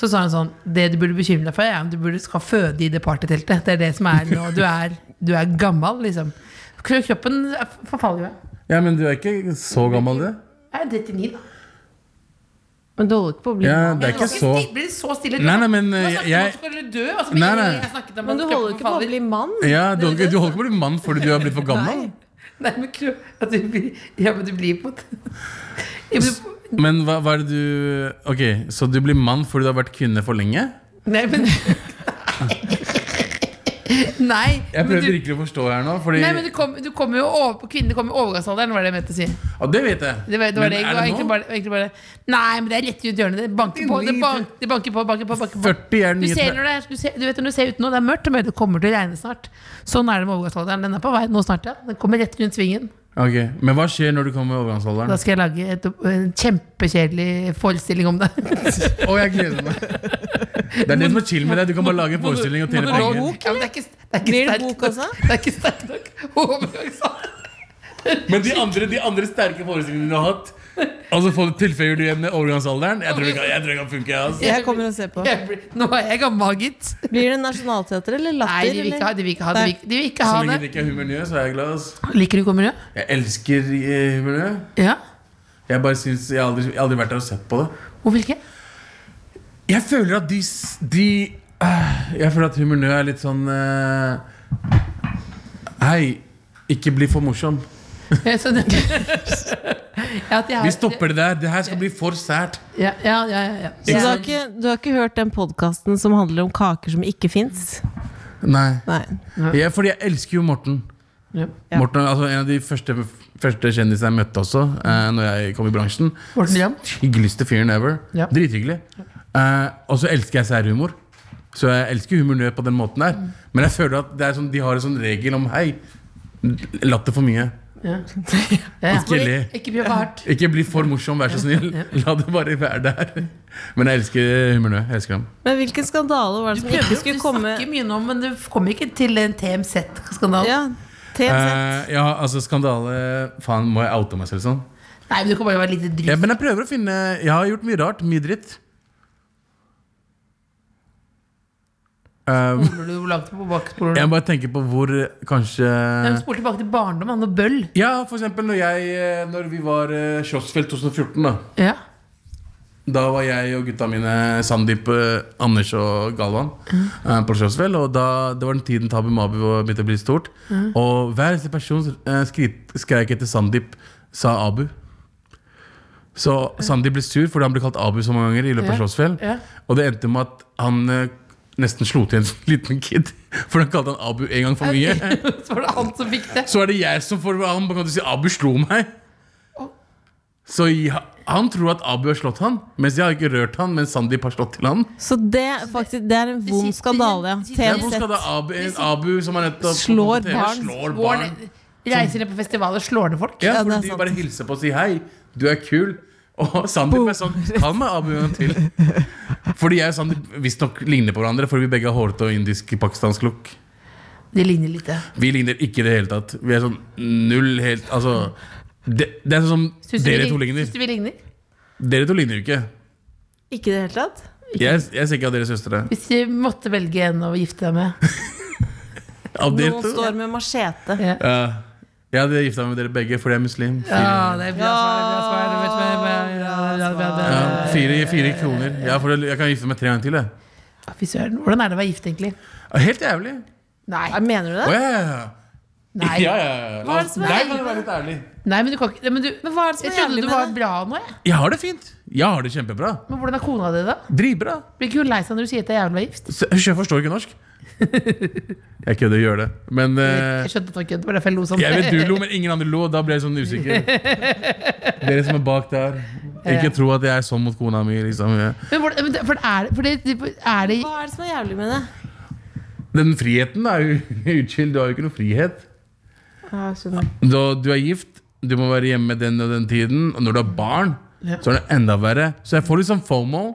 Speaker 7: Så sa hun sånn Det du burde bekymre deg for, er om du burde skal føde i det partyteltet. Det er det som er nå. Du er, du er gammel, liksom. Kroppen forfaller jo.
Speaker 4: Ja, men du er ikke så gammel, du.
Speaker 7: Jeg er 39, da.
Speaker 5: Men du holder ikke på å bli
Speaker 4: Ja,
Speaker 5: mann.
Speaker 4: det er ikke så
Speaker 7: Sti- Blir det så stille?
Speaker 4: Nei, nei, men, eh,
Speaker 7: Du har
Speaker 4: jeg-
Speaker 7: snakket om at du skulle dø, altså, og så blir
Speaker 4: Nei,
Speaker 7: det-
Speaker 4: nei.
Speaker 7: jeg snakket om
Speaker 5: Men du
Speaker 7: at
Speaker 5: holder
Speaker 7: kroppen
Speaker 5: ikke på å
Speaker 7: forfaller.
Speaker 5: blir mann.
Speaker 4: Ja, du, holder ikke- du holder ikke på å bli mann fordi du har blitt for gammel.
Speaker 7: Nei, men kro- at du blir Ja, men du blir på Ja, men du,
Speaker 4: Men hva, hva er det du Ok, Så du blir mann fordi du har vært kvinne for lenge?
Speaker 7: Nei, men Nei,
Speaker 4: Jeg
Speaker 7: men
Speaker 4: prøver
Speaker 7: du,
Speaker 4: virkelig å forstå her nå. Fordi,
Speaker 7: nei, men du kom, du kom jo over, kvinner kommer i overgangsalderen, var det jeg mente å si.
Speaker 4: Ja, det vet jeg.
Speaker 7: Det var, det var
Speaker 4: Men
Speaker 7: det, jeg-
Speaker 4: er
Speaker 7: var
Speaker 4: det
Speaker 7: egentlig
Speaker 4: nå?
Speaker 7: bare, egentlig bare Nei, men det er rett rundt hjørnet. Det banker på, det banker, det banker på, banker på, banker på.
Speaker 4: 40 er den
Speaker 7: Du,
Speaker 4: nye
Speaker 7: ser
Speaker 4: tre-
Speaker 7: når det er, du, ser, du vet når du ser ut nå, det er mørkt, men det kommer til å regne snart. Sånn er det med overgangsalderen. Den er på vei nå snart, ja. Den kommer rett rundt svingen.
Speaker 4: Ok, Men hva skjer når du kommer i
Speaker 7: Da
Speaker 4: overgangsalderen?
Speaker 7: skal jeg lage et, en kjempekjedelig forestilling om det.
Speaker 4: Å, jeg gleder meg. Det er det som er chill med deg. Du kan bare lage en forestilling og tjene
Speaker 7: Monolog.
Speaker 4: penger.
Speaker 7: Ja, men det er ikke, det er
Speaker 5: Blir det
Speaker 7: ikke
Speaker 5: bok
Speaker 7: sterkt
Speaker 5: også?
Speaker 7: nok. Det er ikke sterkt nok. Overgangsalder.
Speaker 4: Men de andre, de andre sterke forestillingene du har hatt, altså for tilføyer du igjen overgangsalderen? Jeg tror det kan, jeg tror det kan funke. Altså.
Speaker 5: Jeg kommer og ser på.
Speaker 7: Jeg blir- Nå er jeg gammel, gitt.
Speaker 5: Blir det Nationaltheatret eller
Speaker 7: Nei,
Speaker 5: Latter?
Speaker 7: de vil ikke
Speaker 5: eller?
Speaker 7: ha de vil ikke ha det. De vil- de vil ikke
Speaker 4: Så
Speaker 7: ha
Speaker 4: lenge
Speaker 7: det.
Speaker 4: det ikke er humørnø, så er jeg glad. Altså.
Speaker 7: Liker du komedie?
Speaker 4: Jeg elsker eh, humørnø.
Speaker 7: Ja.
Speaker 4: Jeg bare synes, jeg har aldri, jeg har aldri vært der og sett på det.
Speaker 7: Hvorfor ikke?
Speaker 4: Jeg føler at de, s- de øh, Jeg føler at humørnø er litt sånn eh, Hei, ikke bli for morsom.
Speaker 7: Ja, Eh, så det- Ja, at jeg har-
Speaker 4: Vi stopper det der. Det her skal bli for sært.
Speaker 7: Ja, ja, ja, ja, ja.
Speaker 5: Så du har, ikke, du har ikke hørt den podkasten som handler om kaker som ikke fins?
Speaker 4: Nei.
Speaker 5: Nei.
Speaker 4: Jeg, fordi jeg elsker jo Morten.
Speaker 7: Ja.
Speaker 4: Morten er altså, en av de første, første kjendisene jeg møtte også eh, Når jeg kom i bransjen.
Speaker 7: Morten Ramm?
Speaker 4: Hyggeligste fyren ever.
Speaker 7: Ja.
Speaker 4: Drithyggelig. Eh, og så elsker jeg særhumor. Så jeg elsker humornø på den måten
Speaker 7: Mm.
Speaker 4: der. Men jeg føler at det er sånn, de har en sånn regel om hei, latter for mye.
Speaker 7: Ja. Ja.
Speaker 4: Ikke le.
Speaker 7: Ikke bli for hardt.
Speaker 4: Ikke bli for morsom, vær så snill. La det bare være der. Men jeg elsker humornø. Jeg elsker dem.
Speaker 5: Men hvilken skandale var det som ikke
Speaker 7: Du
Speaker 5: skulle komme?
Speaker 7: snakker mye nå, men du kom ikke til en TMZ-skandale.
Speaker 5: Ja, TMZ.
Speaker 4: Eh, ja, altså skandale Faen, må jeg oute meg selv sånn?
Speaker 7: Nei, men du kan bare være litt
Speaker 4: Ja,
Speaker 7: dryg.
Speaker 4: men jeg prøver å finne Jeg har gjort mye rart. Mye dritt. Eh,
Speaker 7: Spoler du hvor langt tilbake spoler
Speaker 4: jeg
Speaker 7: du?
Speaker 4: må bare tenke på hvor eh, kanskje
Speaker 7: Nei, Spol tilbake til barndom, han og bøll.
Speaker 4: Ja, for eksempel når, jeg, eh, når vi var eh, Slottsfjell 2014, da.
Speaker 7: Ja.
Speaker 4: Da var jeg og gutta mine, Sandeep, eh, Anders og Galvan,
Speaker 7: Mm.
Speaker 4: eh, på Slottsfjell. Og da, det var den tiden Tabu Mabu var- begynte å bli stort.
Speaker 7: Mm.
Speaker 4: Og hver eneste person eh, skrit, skreik etter Sandeep, sa Abu. Så Sandeep ble sur fordi han ble kalt Abu så mange ganger i løpet av Slottsfjell.
Speaker 7: Ja.
Speaker 4: Og det endte med at han eh, nesten slo til en liten kid, for han kalte han Abu en gang for mye.
Speaker 7: Så var det han som fikk det.
Speaker 4: Så er det jeg som får han Kan du si Abu slo meg Så jeg, han tror at Abu har slått han Mens jeg har ikke rørt han Men Sandeep har slått til han
Speaker 5: Så det, er faktisk, det er en vond
Speaker 7: sitter-
Speaker 5: skandale,
Speaker 7: det
Speaker 5: ja.
Speaker 7: sitter-
Speaker 4: Jeg hvor skal da
Speaker 5: TMZ.
Speaker 4: Abu, en Abu som er nettopp
Speaker 5: Slår
Speaker 4: på TV,
Speaker 5: barn.
Speaker 4: Slår
Speaker 7: Går
Speaker 4: barn
Speaker 7: ned- Reiser ned på festivaler, slår ned folk.
Speaker 4: Ja,
Speaker 5: Ja,
Speaker 4: fordi
Speaker 5: det er
Speaker 4: de
Speaker 5: sant.
Speaker 4: bare hilser på og sier hei Du er kul og Sandeep er sånn, kall meg Abu en gang til Fordi jeg og Sandeep visstnok ligner på hverandre Fordi vi begge har håret og indisk pakistansk look
Speaker 7: Det ligner litt, det.
Speaker 4: Vi ligner ikke i det hele tatt Vi er sånn null helt altså, det, det er sånn som
Speaker 7: Syns du vi
Speaker 4: dere
Speaker 7: lign-
Speaker 4: to ligner
Speaker 7: Syns du vi ligner?
Speaker 4: Dere to ligner jo ikke
Speaker 5: Ikke i det hele tatt?
Speaker 4: Jeg, jeg ser ikke av dere søstre.
Speaker 7: Hvis du måtte velge en å gifte deg med.
Speaker 4: Av dere
Speaker 5: Noen
Speaker 4: to?
Speaker 5: står med machete.
Speaker 4: Ja. Jeg hadde gifta meg med dere begge fordi jeg er muslim. Fire,
Speaker 7: Ja, det er bra svar. det er bra svar, det er bra svar, det er bra svar, det er bra svar.
Speaker 4: ja, fire, fire kroner. Ja, for jeg kan gifte meg tre ganger til. Jeg.
Speaker 7: Ja, Fy søren. Hvordan er det å være gift, egentlig?
Speaker 4: Helt jævlig.
Speaker 7: Nei.
Speaker 5: Ja, Mener du
Speaker 4: Å,
Speaker 5: det?
Speaker 4: ja, ja, ja.
Speaker 7: Nei.
Speaker 4: Ja, ja, ja. La
Speaker 7: Hva er det
Speaker 4: oss,
Speaker 7: som er
Speaker 4: der
Speaker 7: jævlig
Speaker 4: kan du være litt ærlig.
Speaker 7: Nei, men du kan ikke Nei, men du,
Speaker 5: Men hva er det som
Speaker 7: Jeg
Speaker 5: er
Speaker 7: trodde
Speaker 5: jævlig
Speaker 7: du
Speaker 5: med
Speaker 7: var
Speaker 5: det?
Speaker 7: bra nå, jeg.
Speaker 4: Jeg har det fint. Jeg har det kjempebra.
Speaker 7: Men hvordan er kona di, da?
Speaker 4: Dritbra.
Speaker 7: Blir ikke hun lei seg når du sier at jeg er jævla gift?
Speaker 4: Så- Hysj, jeg forstår ikke norsk. Jeg kødder og gjør det. Men eh,
Speaker 7: Jeg skjønte at det var kødd, det var derfor jeg lo sånn.
Speaker 4: jeg vet du lo, men ingen andre lo. og Da ble jeg sånn usikker. Dere som er bak der, ikke tro at jeg er sånn mot kona mi. Liksom.
Speaker 7: Men hvordan- men det- for er, for det, er det
Speaker 5: Hva er det som er jævlig med det?
Speaker 4: Den friheten er jo utskilt. Du har jo ikke noe frihet.
Speaker 5: Ja, jeg skjønner.
Speaker 4: Da du er gift, du må være hjemme den og den tiden. Og når du har barn, så er det enda verre. Så jeg får litt sånn FOMO.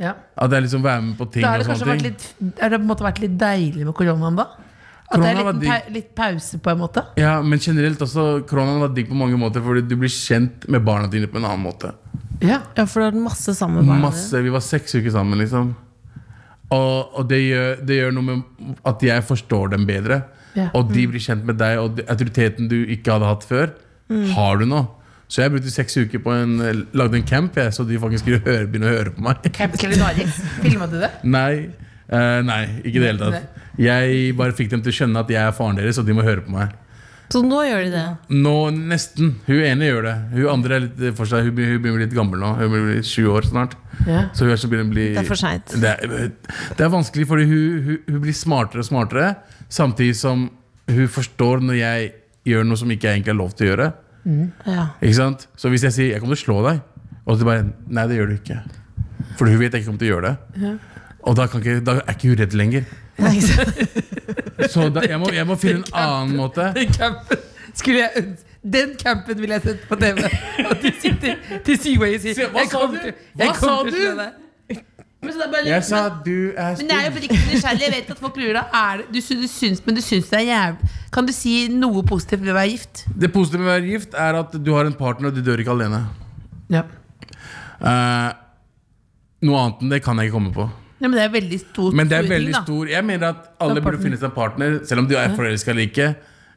Speaker 7: Ja.
Speaker 4: At jeg liksom være med på ting
Speaker 7: Da har
Speaker 4: og
Speaker 7: det kanskje
Speaker 4: sånne
Speaker 7: vært
Speaker 4: ting.
Speaker 7: litt Har det på en måte vært litt deilig med koronaen, da? At det er
Speaker 4: Korona var
Speaker 7: litt,
Speaker 4: digg.
Speaker 7: pa litt pause, på en måte?
Speaker 4: Ja, Men generelt også, koronaen var digg på mange måter, fordi du blir kjent med barna dine på en annen måte.
Speaker 7: Ja.
Speaker 5: Ja, for du har masse sammen med barna dine.
Speaker 4: Masse, Vi var seks uker sammen, liksom. Og, og det, gjør, det gjør noe med at jeg forstår dem bedre.
Speaker 7: Ja.
Speaker 4: Og de blir kjent med deg, og de- autoriteten du ikke hadde hatt før, har du nå. Så jeg brukte seks uker på en, lagde en camp, jeg, så de faktisk skulle høre, begynne å høre på meg.
Speaker 7: Camp Culinaris. Filma du det?
Speaker 4: Nei, eh, nei, ikke i det hele tatt. Jeg bare fikk dem til å skjønne at jeg er faren deres, og de må høre på meg.
Speaker 5: Så nå gjør de det.
Speaker 4: Nå nesten. Hun ene gjør det. Hun andre er litt for seg. Hun, blir- hun begynner å bli litt gammel nå. Hun blir sju år snart.
Speaker 5: Ja.
Speaker 4: Så hun er så begynner å bli
Speaker 5: Det er for seint.
Speaker 4: Det er, det er vanskelig, fordi hun, hun, hun blir smartere og smartere, samtidig som hun forstår når jeg gjør noe som ikke jeg egentlig har lov til å gjøre.
Speaker 5: Ja.
Speaker 4: Ikke sant? Så hvis jeg sier 'jeg kommer til å slå deg', og så bare 'nei, det gjør du ikke'. For hun vet jeg ikke kommer til å gjøre det. Og da, kan ikke, da er ikke hun redd lenger. Så da, jeg, må, jeg må finne en annen måte.
Speaker 7: Den campen skulle jeg øns- Den campen ville jeg sett på TV. At de sitter til Seaway og sier
Speaker 4: Se, hva
Speaker 7: «Jeg
Speaker 4: sa
Speaker 7: kommer
Speaker 4: du?
Speaker 7: til-
Speaker 4: Hva
Speaker 7: jeg kommer
Speaker 4: sa
Speaker 7: til å
Speaker 4: du?
Speaker 7: slå deg».
Speaker 2: Men, så det er bare,
Speaker 4: Jeg sa
Speaker 2: men,
Speaker 4: 'du er
Speaker 2: men det er jo
Speaker 4: stygg'.
Speaker 2: oppriktig nysgjerrig. Jeg vet at
Speaker 7: Folk lurer da, er det, du, sy- du syns, men du syns det er jævlig Kan du si noe positivt ved å være gift?
Speaker 4: Det positive med å være gift er at du har en partner, og du dør ikke alene.
Speaker 7: Ja.
Speaker 4: Eh, noe annet enn det kan jeg ikke komme på.
Speaker 7: men det er veldig stor
Speaker 4: Men det er
Speaker 7: stor ting,
Speaker 4: veldig
Speaker 7: da.
Speaker 4: stor Jeg mener at alle
Speaker 7: Da partner.
Speaker 4: burde finne seg en partner, selv om de er forelska eller ikke.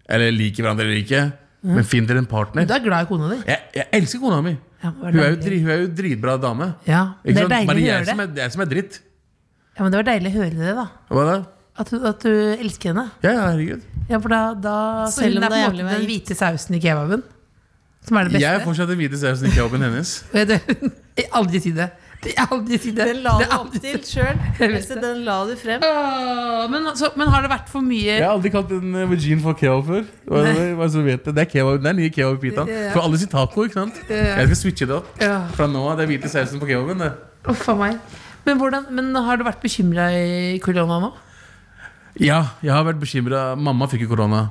Speaker 4: Eller liker hverandre eller ikke. Men finn dere en partner.
Speaker 7: Du er glad i kona di.
Speaker 4: Jeg, jeg elsker kona mi.
Speaker 7: Ja, det var
Speaker 4: hun, er jo
Speaker 7: deilig.
Speaker 4: dri, hun er jo dritbra dame.
Speaker 7: Ja,
Speaker 4: Ikke
Speaker 7: det er
Speaker 4: sant?
Speaker 7: deilig
Speaker 4: Bare
Speaker 7: å
Speaker 4: jeg
Speaker 7: høre
Speaker 4: som
Speaker 7: det.
Speaker 4: er, jeg som er dritt.
Speaker 7: Ja, men det var deilig å høre det, da.
Speaker 4: Hva da?
Speaker 7: At du, at du elsker henne.
Speaker 4: Ja, ja, herregud.
Speaker 7: Ja, for da, da så
Speaker 5: Selv
Speaker 7: hun
Speaker 5: om det er
Speaker 7: på en
Speaker 5: jævlig å
Speaker 7: måte
Speaker 5: være
Speaker 7: den hvite sausen i kebaben. Som er
Speaker 4: Jeg
Speaker 7: det
Speaker 4: er
Speaker 7: beste.
Speaker 4: fortsatt den hvite sausen i kebaben hennes.
Speaker 7: Jeg jeg aldri si det. Jeg Aldri si det.
Speaker 5: Den la
Speaker 7: Det
Speaker 5: du
Speaker 7: er
Speaker 5: opp
Speaker 7: aldri-
Speaker 5: til sjøl.
Speaker 7: Jeg vet
Speaker 5: Else, Den la du frem.
Speaker 7: Åh, men, altså, men har det vært for mye
Speaker 4: Jeg har aldri kalt en eh, vagin for kebab før. Hva, hva, så vet jeg. Det er kebab, det er nye kebabpitaen.
Speaker 7: Ja, ja.
Speaker 4: For alle sier taco, ikke sant?
Speaker 7: ja.
Speaker 4: Jeg skal switche det opp.
Speaker 7: Ja.
Speaker 4: Fra nå av det er hvite sausen på kebaben. det.
Speaker 7: Uff a meg. Men, hvordan, men har du vært bekymra i korona nå?
Speaker 4: Ja, jeg har vært bekymra. Mamma fikk jo korona.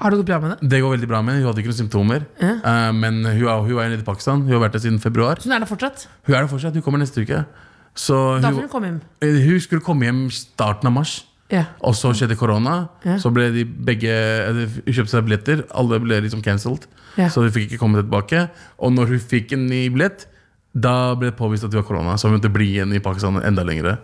Speaker 7: Har det gått bra med det?
Speaker 4: Det går veldig bra med henne. Hun hadde ikke noen symptomer. Eh, men hun er, hun er nede i Pakistan. Hun har vært der siden februar.
Speaker 7: Så hun er der fortsatt?
Speaker 4: Hun er der fortsatt. Hun kommer neste uke. Så
Speaker 7: Da
Speaker 4: hun,
Speaker 7: får hun komme hjem.
Speaker 4: eh, hun skulle komme hjem starten av mars.
Speaker 7: Ja.
Speaker 4: Og så skjedde korona.
Speaker 7: Ja.
Speaker 4: Så ble de begge eller, Hun kjøpte seg billetter. Alle ble liksom cancelled.
Speaker 7: Ja.
Speaker 4: Så hun fikk ikke komme tilbake. Og når hun fikk en ny billett, da ble det påvist at hun har korona. Så hun måtte bli igjen i Pakistan enda lengre.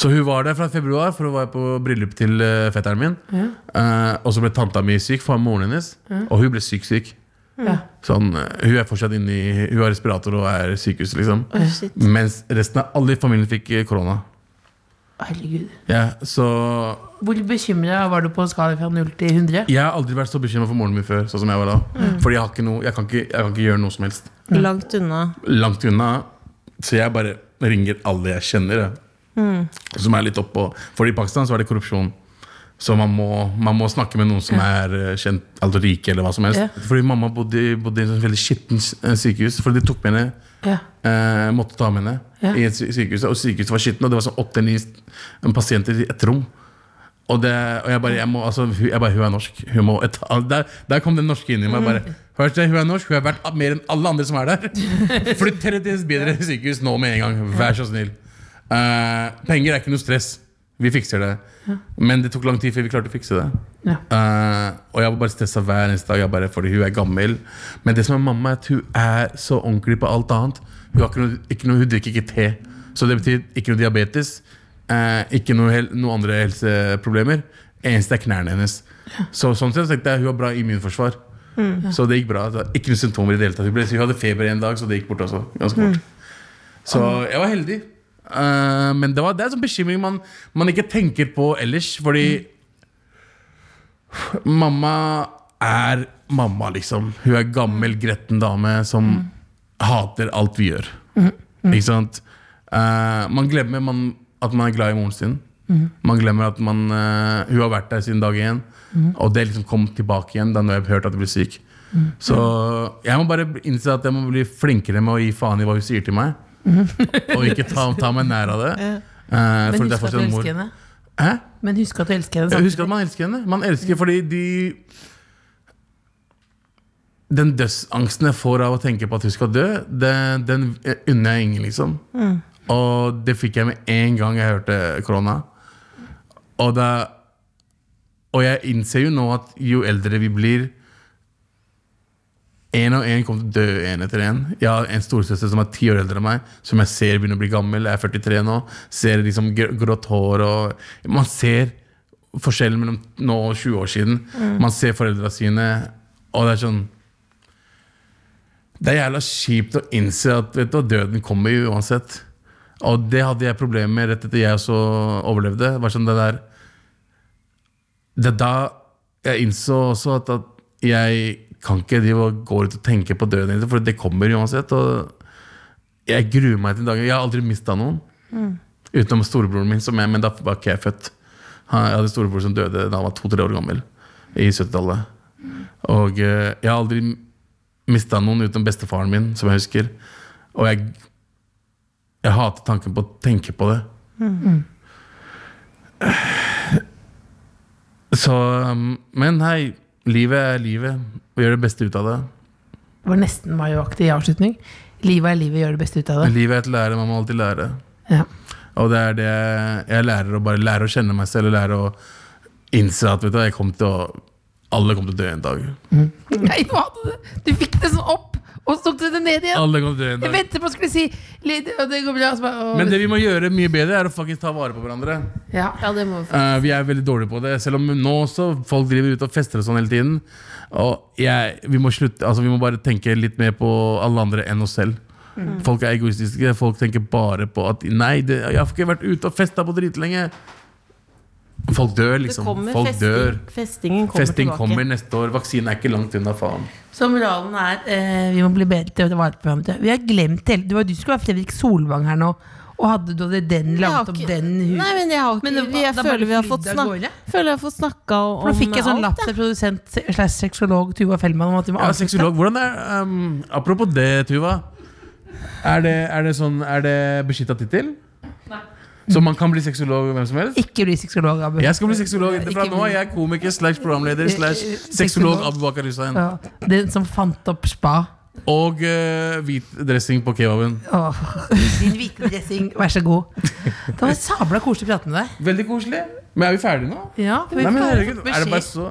Speaker 4: Så hun var der fra februar, for hun var på bryllup til eh, fetteren min. Eh, og så ble tanta mi syk, for moren hennes. Og hun ble syk-syk.
Speaker 7: Ja.
Speaker 4: Sånn, eh, hun er fortsatt inne i Hun har respirator og er i sykehus, liksom.
Speaker 5: Å, shit.
Speaker 4: Mens resten av alle i familien fikk eh, korona.
Speaker 7: Herregud.
Speaker 4: Ja, så
Speaker 7: Hvor bekymra var du på en skala fra 0 til 100?
Speaker 4: Jeg har aldri vært så bekymra for moren min før. Sånn som jeg var da
Speaker 7: Mm.
Speaker 4: Fordi jeg, har ikke noe, jeg, kan ikke, jeg kan ikke gjøre noe som helst.
Speaker 5: Langt unna.
Speaker 4: Langt unna. Så jeg bare ringer alle jeg kjenner. jeg. Som er litt oppå For i Pakistan så er det korrupsjon. Så man må, man må snakke med noen som er eh, kjent, altså rike, eller hva som helst.
Speaker 7: Ja.
Speaker 4: Fordi mamma bodde, i- bodde i et sånt veldig skittent eh, sykehus. Fordi de tok med henne
Speaker 7: Ja.
Speaker 4: Eh, måtte ta med henne
Speaker 7: Ja.
Speaker 4: i et sy- sykehuset, og sykehuset var skitten. Og det var sånn åtte-ni pasienter i ett rom. Og, det, og jeg bare, jeg må, altså, hun- jeg bare Hun er norsk. Hun må et, al- der, der kom den norske inn i meg.
Speaker 7: Mm.
Speaker 4: Bare, Først, hun er norsk, hun har vært mer enn alle andre som er der. Flytt dere til et bedre sykehus nå med en gang. Vær så snill. Eh, penger er ikke noe stress. Vi fikser det. Men det tok lang tid før vi klarte å fikse det.
Speaker 7: Ja.
Speaker 4: Eh, og jeg var bare stressa hver eneste dag, jeg bare, fordi hun er gammel. Men det som er mamma, er at hun er så ordentlig på alt annet. Hun, har ikke noe, ikke noe, hun drikker ikke te. Så det betyr ikke noe diabetes, eh, ikke noe, hel, noe andre helseproblemer. Eneste er knærne hennes. Så sånn sett tenkte jeg hun har bra immunforsvar. Så det gikk bra. Det var ikke noen symptomer i det hele tatt. Hun, ble, hun hadde feber en dag, så det gikk bort også. Ganske fort. Så jeg var heldig. Eh, men det, var, det er en sånn bekymring man, man ikke tenker på ellers, fordi Mamma er mamma, liksom. Hun er gammel, gretten dame som hater alt vi gjør.
Speaker 7: Mhm.
Speaker 4: Ikke sant? Eh, man glemmer man, at man er glad i moren sin.
Speaker 7: Mhm.
Speaker 4: Man glemmer at man, eh, hun har vært der siden dag én,
Speaker 7: Mhm.
Speaker 4: og det liksom kom tilbake igjen da når jeg hørte at jeg ble syk. Så jeg må bare innse at jeg må bli flinkere med å gi faen i hva hun sier til meg. og ikke ta, ta meg nær av det. Eh,
Speaker 7: Mhm. Men
Speaker 4: for det er
Speaker 7: husk at du
Speaker 4: fortsatt mor.
Speaker 7: elsker henne.
Speaker 4: Hæ?
Speaker 7: Men husk at du elsker henne.
Speaker 4: Jeg
Speaker 7: sant?
Speaker 4: husker at man elsker henne. Man elsker fordi de Den dødsangsten jeg får av å tenke på at hun skal dø, det, den unner jeg ingen, liksom. Og det fikk jeg med en gang jeg hørte korona. Og, da, og jeg innser jo nå at jo eldre vi blir Én og én kommer til å dø en etter en Jeg har en storesøster som er ti år eldre enn meg, som jeg ser begynner å bli gammel. Jeg er 43 nå. Ser liksom gr- grått hår og Man ser forskjellen mellom nå og 20 år siden. Man ser foreldra sine, og det er sånn Det er jævla kjipt å innse at vet du, hva, døden kommer jo uansett. Og det hadde jeg problemer med rett etter jeg også overlevde. Var sånn det der Det er da jeg innså også at, at jeg kan ikke drive og gå ut og tenke på døden, egentlig, for det kommer uansett. Og jeg gruer meg til dagen. Jeg har aldri mista noen. Utenom storebroren min, som jeg, men da var ikke jeg født. Han, jeg hadde storebror som døde da han var to-tre år gammel, i 70-tallet. Og eh, jeg har aldri mista noen utenom bestefaren min, som jeg husker. Og jeg, jeg hater tanken på å tenke på det. Så, um, men hei, livet er livet. Vi gjør det beste ut av det.
Speaker 7: Det var nesten mayoaktig avslutning. Livet er livet, gjør det beste ut av det.
Speaker 4: Livet er et lære, man må alltid lære.
Speaker 7: Ja.
Speaker 4: Og det er det jeg lærer å bare lære å kjenne meg selv og lære å innse at vet du, hva, jeg kom til å, alle kommer til å dø en dag.
Speaker 7: Nei, du hadde det! Du fikk det sånn opp, og så tok du det ned igjen.
Speaker 4: Alle kommer til å dø en
Speaker 7: Jeg
Speaker 4: dag.
Speaker 7: ventet på å skulle si litt, og det går bra. og Så bare, å,
Speaker 4: Men det vi må gjøre mye bedre, er å faktisk ta vare på hverandre.
Speaker 7: ja.
Speaker 5: Ja, det må vi
Speaker 4: Eh, vi er veldig dårlige på det, selv om nå også folk driver ute og fester og sånn hele tiden. Og jeg, vi, må slutte, altså, vi må bare tenke litt mer på alle andre enn oss selv.
Speaker 5: Mm.
Speaker 4: Folk er egoistiske. Folk tenker bare på at Nei, det, jeg har ikke vært ute og festa på dritlenge. Folk dør, liksom. Folk dør.
Speaker 5: Festingen kommer
Speaker 4: Festing
Speaker 5: tilbake.
Speaker 4: kommer neste år. Vaksinen er ikke langt unna, faen.
Speaker 7: Så moralen er eh, vi må bli bedre til å ta vare på hverandre. Vi har glemt hele Det var du skulle være Fredrik Solvang her nå, og hadde du hadde den
Speaker 5: Jeg har
Speaker 7: laget opp
Speaker 5: ikke-
Speaker 7: den hu-
Speaker 5: Nei, men jeg har ikke
Speaker 7: Men det var-
Speaker 5: jeg
Speaker 7: da bare
Speaker 5: føler vi har
Speaker 7: flydde
Speaker 5: fått
Speaker 7: av
Speaker 5: snak-
Speaker 7: gårde.
Speaker 5: Føler jeg har fått snakka om
Speaker 7: For Nå fikk jeg sånn
Speaker 5: alt,
Speaker 7: lapp
Speaker 5: jeg.
Speaker 7: til produsent slash sexolog Tuva Fellmann om at vi må
Speaker 4: Ja,
Speaker 7: avslutte.
Speaker 4: sexolog, hvordan er ehm, Apropos det, Tuva. Er det, er det, sånn, er det beskytta tittel? Så man kan bli sexolog hvem som helst?
Speaker 7: Ikke bli sexolog, Abu.
Speaker 4: Jeg skal bli sexolog. Fra
Speaker 7: Ikke- Eh,
Speaker 4: nå er jeg komiker slash programleder slash sexolog Abu Bakar Hussein.
Speaker 7: Ja, Den som fant opp spa.
Speaker 4: Og eh, hvit dressing på kebaben.
Speaker 7: Åh, din hvite dressing, vær så god. Det var sabla koselig å prate med deg.
Speaker 4: Veldig koselig. Men er vi ferdige nå?
Speaker 7: Ja, vi
Speaker 4: Nei, men
Speaker 7: har
Speaker 4: herregud,
Speaker 7: fått
Speaker 4: er det bare
Speaker 7: beskjed.
Speaker 4: så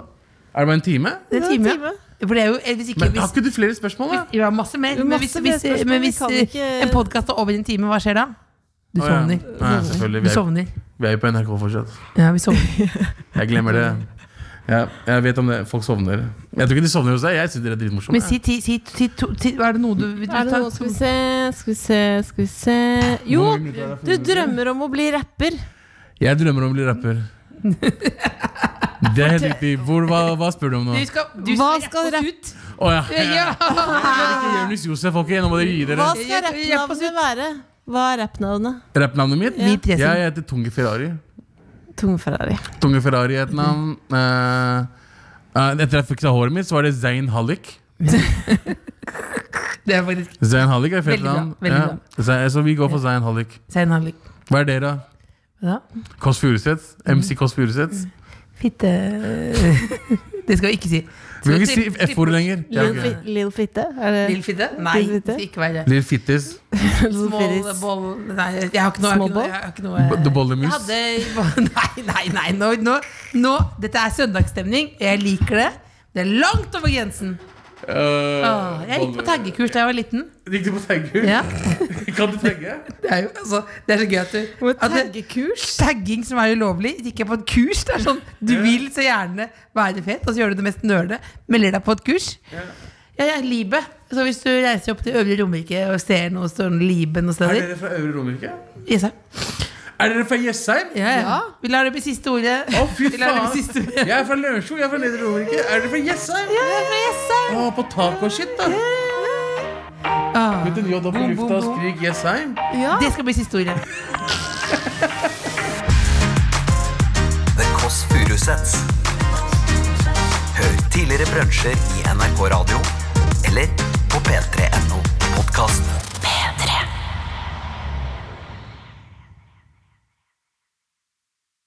Speaker 4: Er det bare en time?
Speaker 7: Det er
Speaker 5: Ja,
Speaker 7: en time. For det er jo, eh, hvis ikke
Speaker 4: Men har
Speaker 7: hvis,
Speaker 4: ikke du flere spørsmål, da?
Speaker 7: Ja, masse mer.
Speaker 5: Jo,
Speaker 7: Men hvis,
Speaker 5: masse
Speaker 7: hvis,
Speaker 5: mer spørsmål,
Speaker 7: men
Speaker 5: vi
Speaker 7: hvis eh,
Speaker 5: kan ikke-
Speaker 7: en podkast er over i en time, hva skjer da? Du
Speaker 4: Å, ja.
Speaker 7: sovner.
Speaker 4: Nei, selvfølgelig.
Speaker 7: Du
Speaker 4: Vi er,
Speaker 7: sovner.
Speaker 4: vi er jo på NRK fortsatt.
Speaker 7: Ja, vi sovner.
Speaker 4: Jeg glemmer det. Ja, jeg vet om det. Folk sovner. Jeg tror ikke de sovner hos deg. Jeg syns dere er
Speaker 7: Men
Speaker 4: dritmorsomme.
Speaker 7: si, ti- si, si, to- ti- er det noe du vil du
Speaker 5: Er det
Speaker 7: ta-
Speaker 5: noe Skal vi se, skal vi se, skal vi se Jo! Du drømmer om å bli rapper.
Speaker 4: Jeg drømmer om å bli rapper. Det er helt riktig. Hvor, hva, hå spør du om nå?
Speaker 7: Du skal, du
Speaker 5: Hva
Speaker 7: rappe
Speaker 5: skal
Speaker 7: oss
Speaker 5: rapp-
Speaker 7: ut.
Speaker 4: Å ja.
Speaker 7: Ja.
Speaker 4: Ikke
Speaker 7: Ah.
Speaker 4: Jonis Josef, ok? Nå må dere gi dere.
Speaker 5: Hva
Speaker 7: Jeg-
Speaker 5: skal
Speaker 7: jeg- jeg-
Speaker 5: rappnavnet være? Hva er rappnavnet?
Speaker 4: Rappnavnet mitt?
Speaker 7: Hvit dressing.
Speaker 4: Jeg heter Tunge Ferrari.
Speaker 5: Tungferrari.
Speaker 4: Tunge Ferrari er et navn. Eh, eh, etter jeg fiksa håret mitt, så var det Zain Hallik.
Speaker 7: Det er faktisk
Speaker 4: Zain Hallik er et fett
Speaker 7: Veldig bra,
Speaker 4: navn.
Speaker 7: veldig
Speaker 4: Zayn- Så vi går for Zain Hallik.
Speaker 7: Sein Hanlik.
Speaker 4: Hva er det, da?
Speaker 7: Ja.
Speaker 4: Kåss Furuseth?
Speaker 7: Mm.
Speaker 4: MC Kåss Furuseth?
Speaker 7: Fitte Det skal vi ikke si.
Speaker 4: Vi kan ikke si F-ordet lenger. Det er
Speaker 5: Lill
Speaker 4: ok.
Speaker 5: Fi- Lill Fitte? Er det
Speaker 7: Lill fitte? Nei,
Speaker 5: Lill fitte?
Speaker 7: ikke vær det.
Speaker 4: Lill Fittis.
Speaker 5: Lill
Speaker 7: Small
Speaker 5: Fittis?
Speaker 7: ball Nei, jeg har ikke noe. jeg har ikke
Speaker 5: Small
Speaker 7: noe-
Speaker 5: ball?
Speaker 7: Jeg har ikke noe
Speaker 4: B- The
Speaker 7: jeg
Speaker 4: Bollemus.
Speaker 7: hadde, nei, nei, nei. Nå, nå, nå, dette er søndagsstemning. Jeg liker det. Det er langt over grensen. Åh, jeg gikk på taggekurs da jeg var liten.
Speaker 4: Gikk du Eh, på taggur?
Speaker 7: Ja.
Speaker 4: Kan du tagge?
Speaker 7: Det er jo altså, det er så gøy at du
Speaker 5: Må
Speaker 7: at det-
Speaker 5: Taggekurs?
Speaker 7: Tagging som er ulovlig. Gikk jeg på et kurs. Det er sånn, Du vil så gjerne være fet, og så gjør du det mest nølete. Melder deg på et kurs. Ja, ja, Libe. Så hvis du reiser opp til Øvre Romerike og ser noe sånn Libe noen
Speaker 4: Er
Speaker 7: steder
Speaker 4: dere fra Øvre Romerike?
Speaker 7: Jessheim.
Speaker 4: Er dere fra Jessheim?
Speaker 7: Ja, ja. Vi lar det bli siste ordet.
Speaker 4: Å, fy
Speaker 7: Vi lar det
Speaker 4: faen!
Speaker 7: bli siste ordet.
Speaker 4: Jeg er fra Lørenskog, jeg er fra Nedre Romerike. Er dere fra Jessheim?
Speaker 7: Ja, jeg er fra Jessheim.
Speaker 4: Å, på taco-shit, da.
Speaker 7: Ah.
Speaker 4: Putt en J opp i
Speaker 7: Boom, boom,
Speaker 4: lufta og
Speaker 7: boom.
Speaker 4: skrik Jessheim.
Speaker 7: Det skal bli siste ordet.
Speaker 3: The Kåss Furuseths. Hør tidligere brunsjer i NRK Radio eller på p3.no podkast.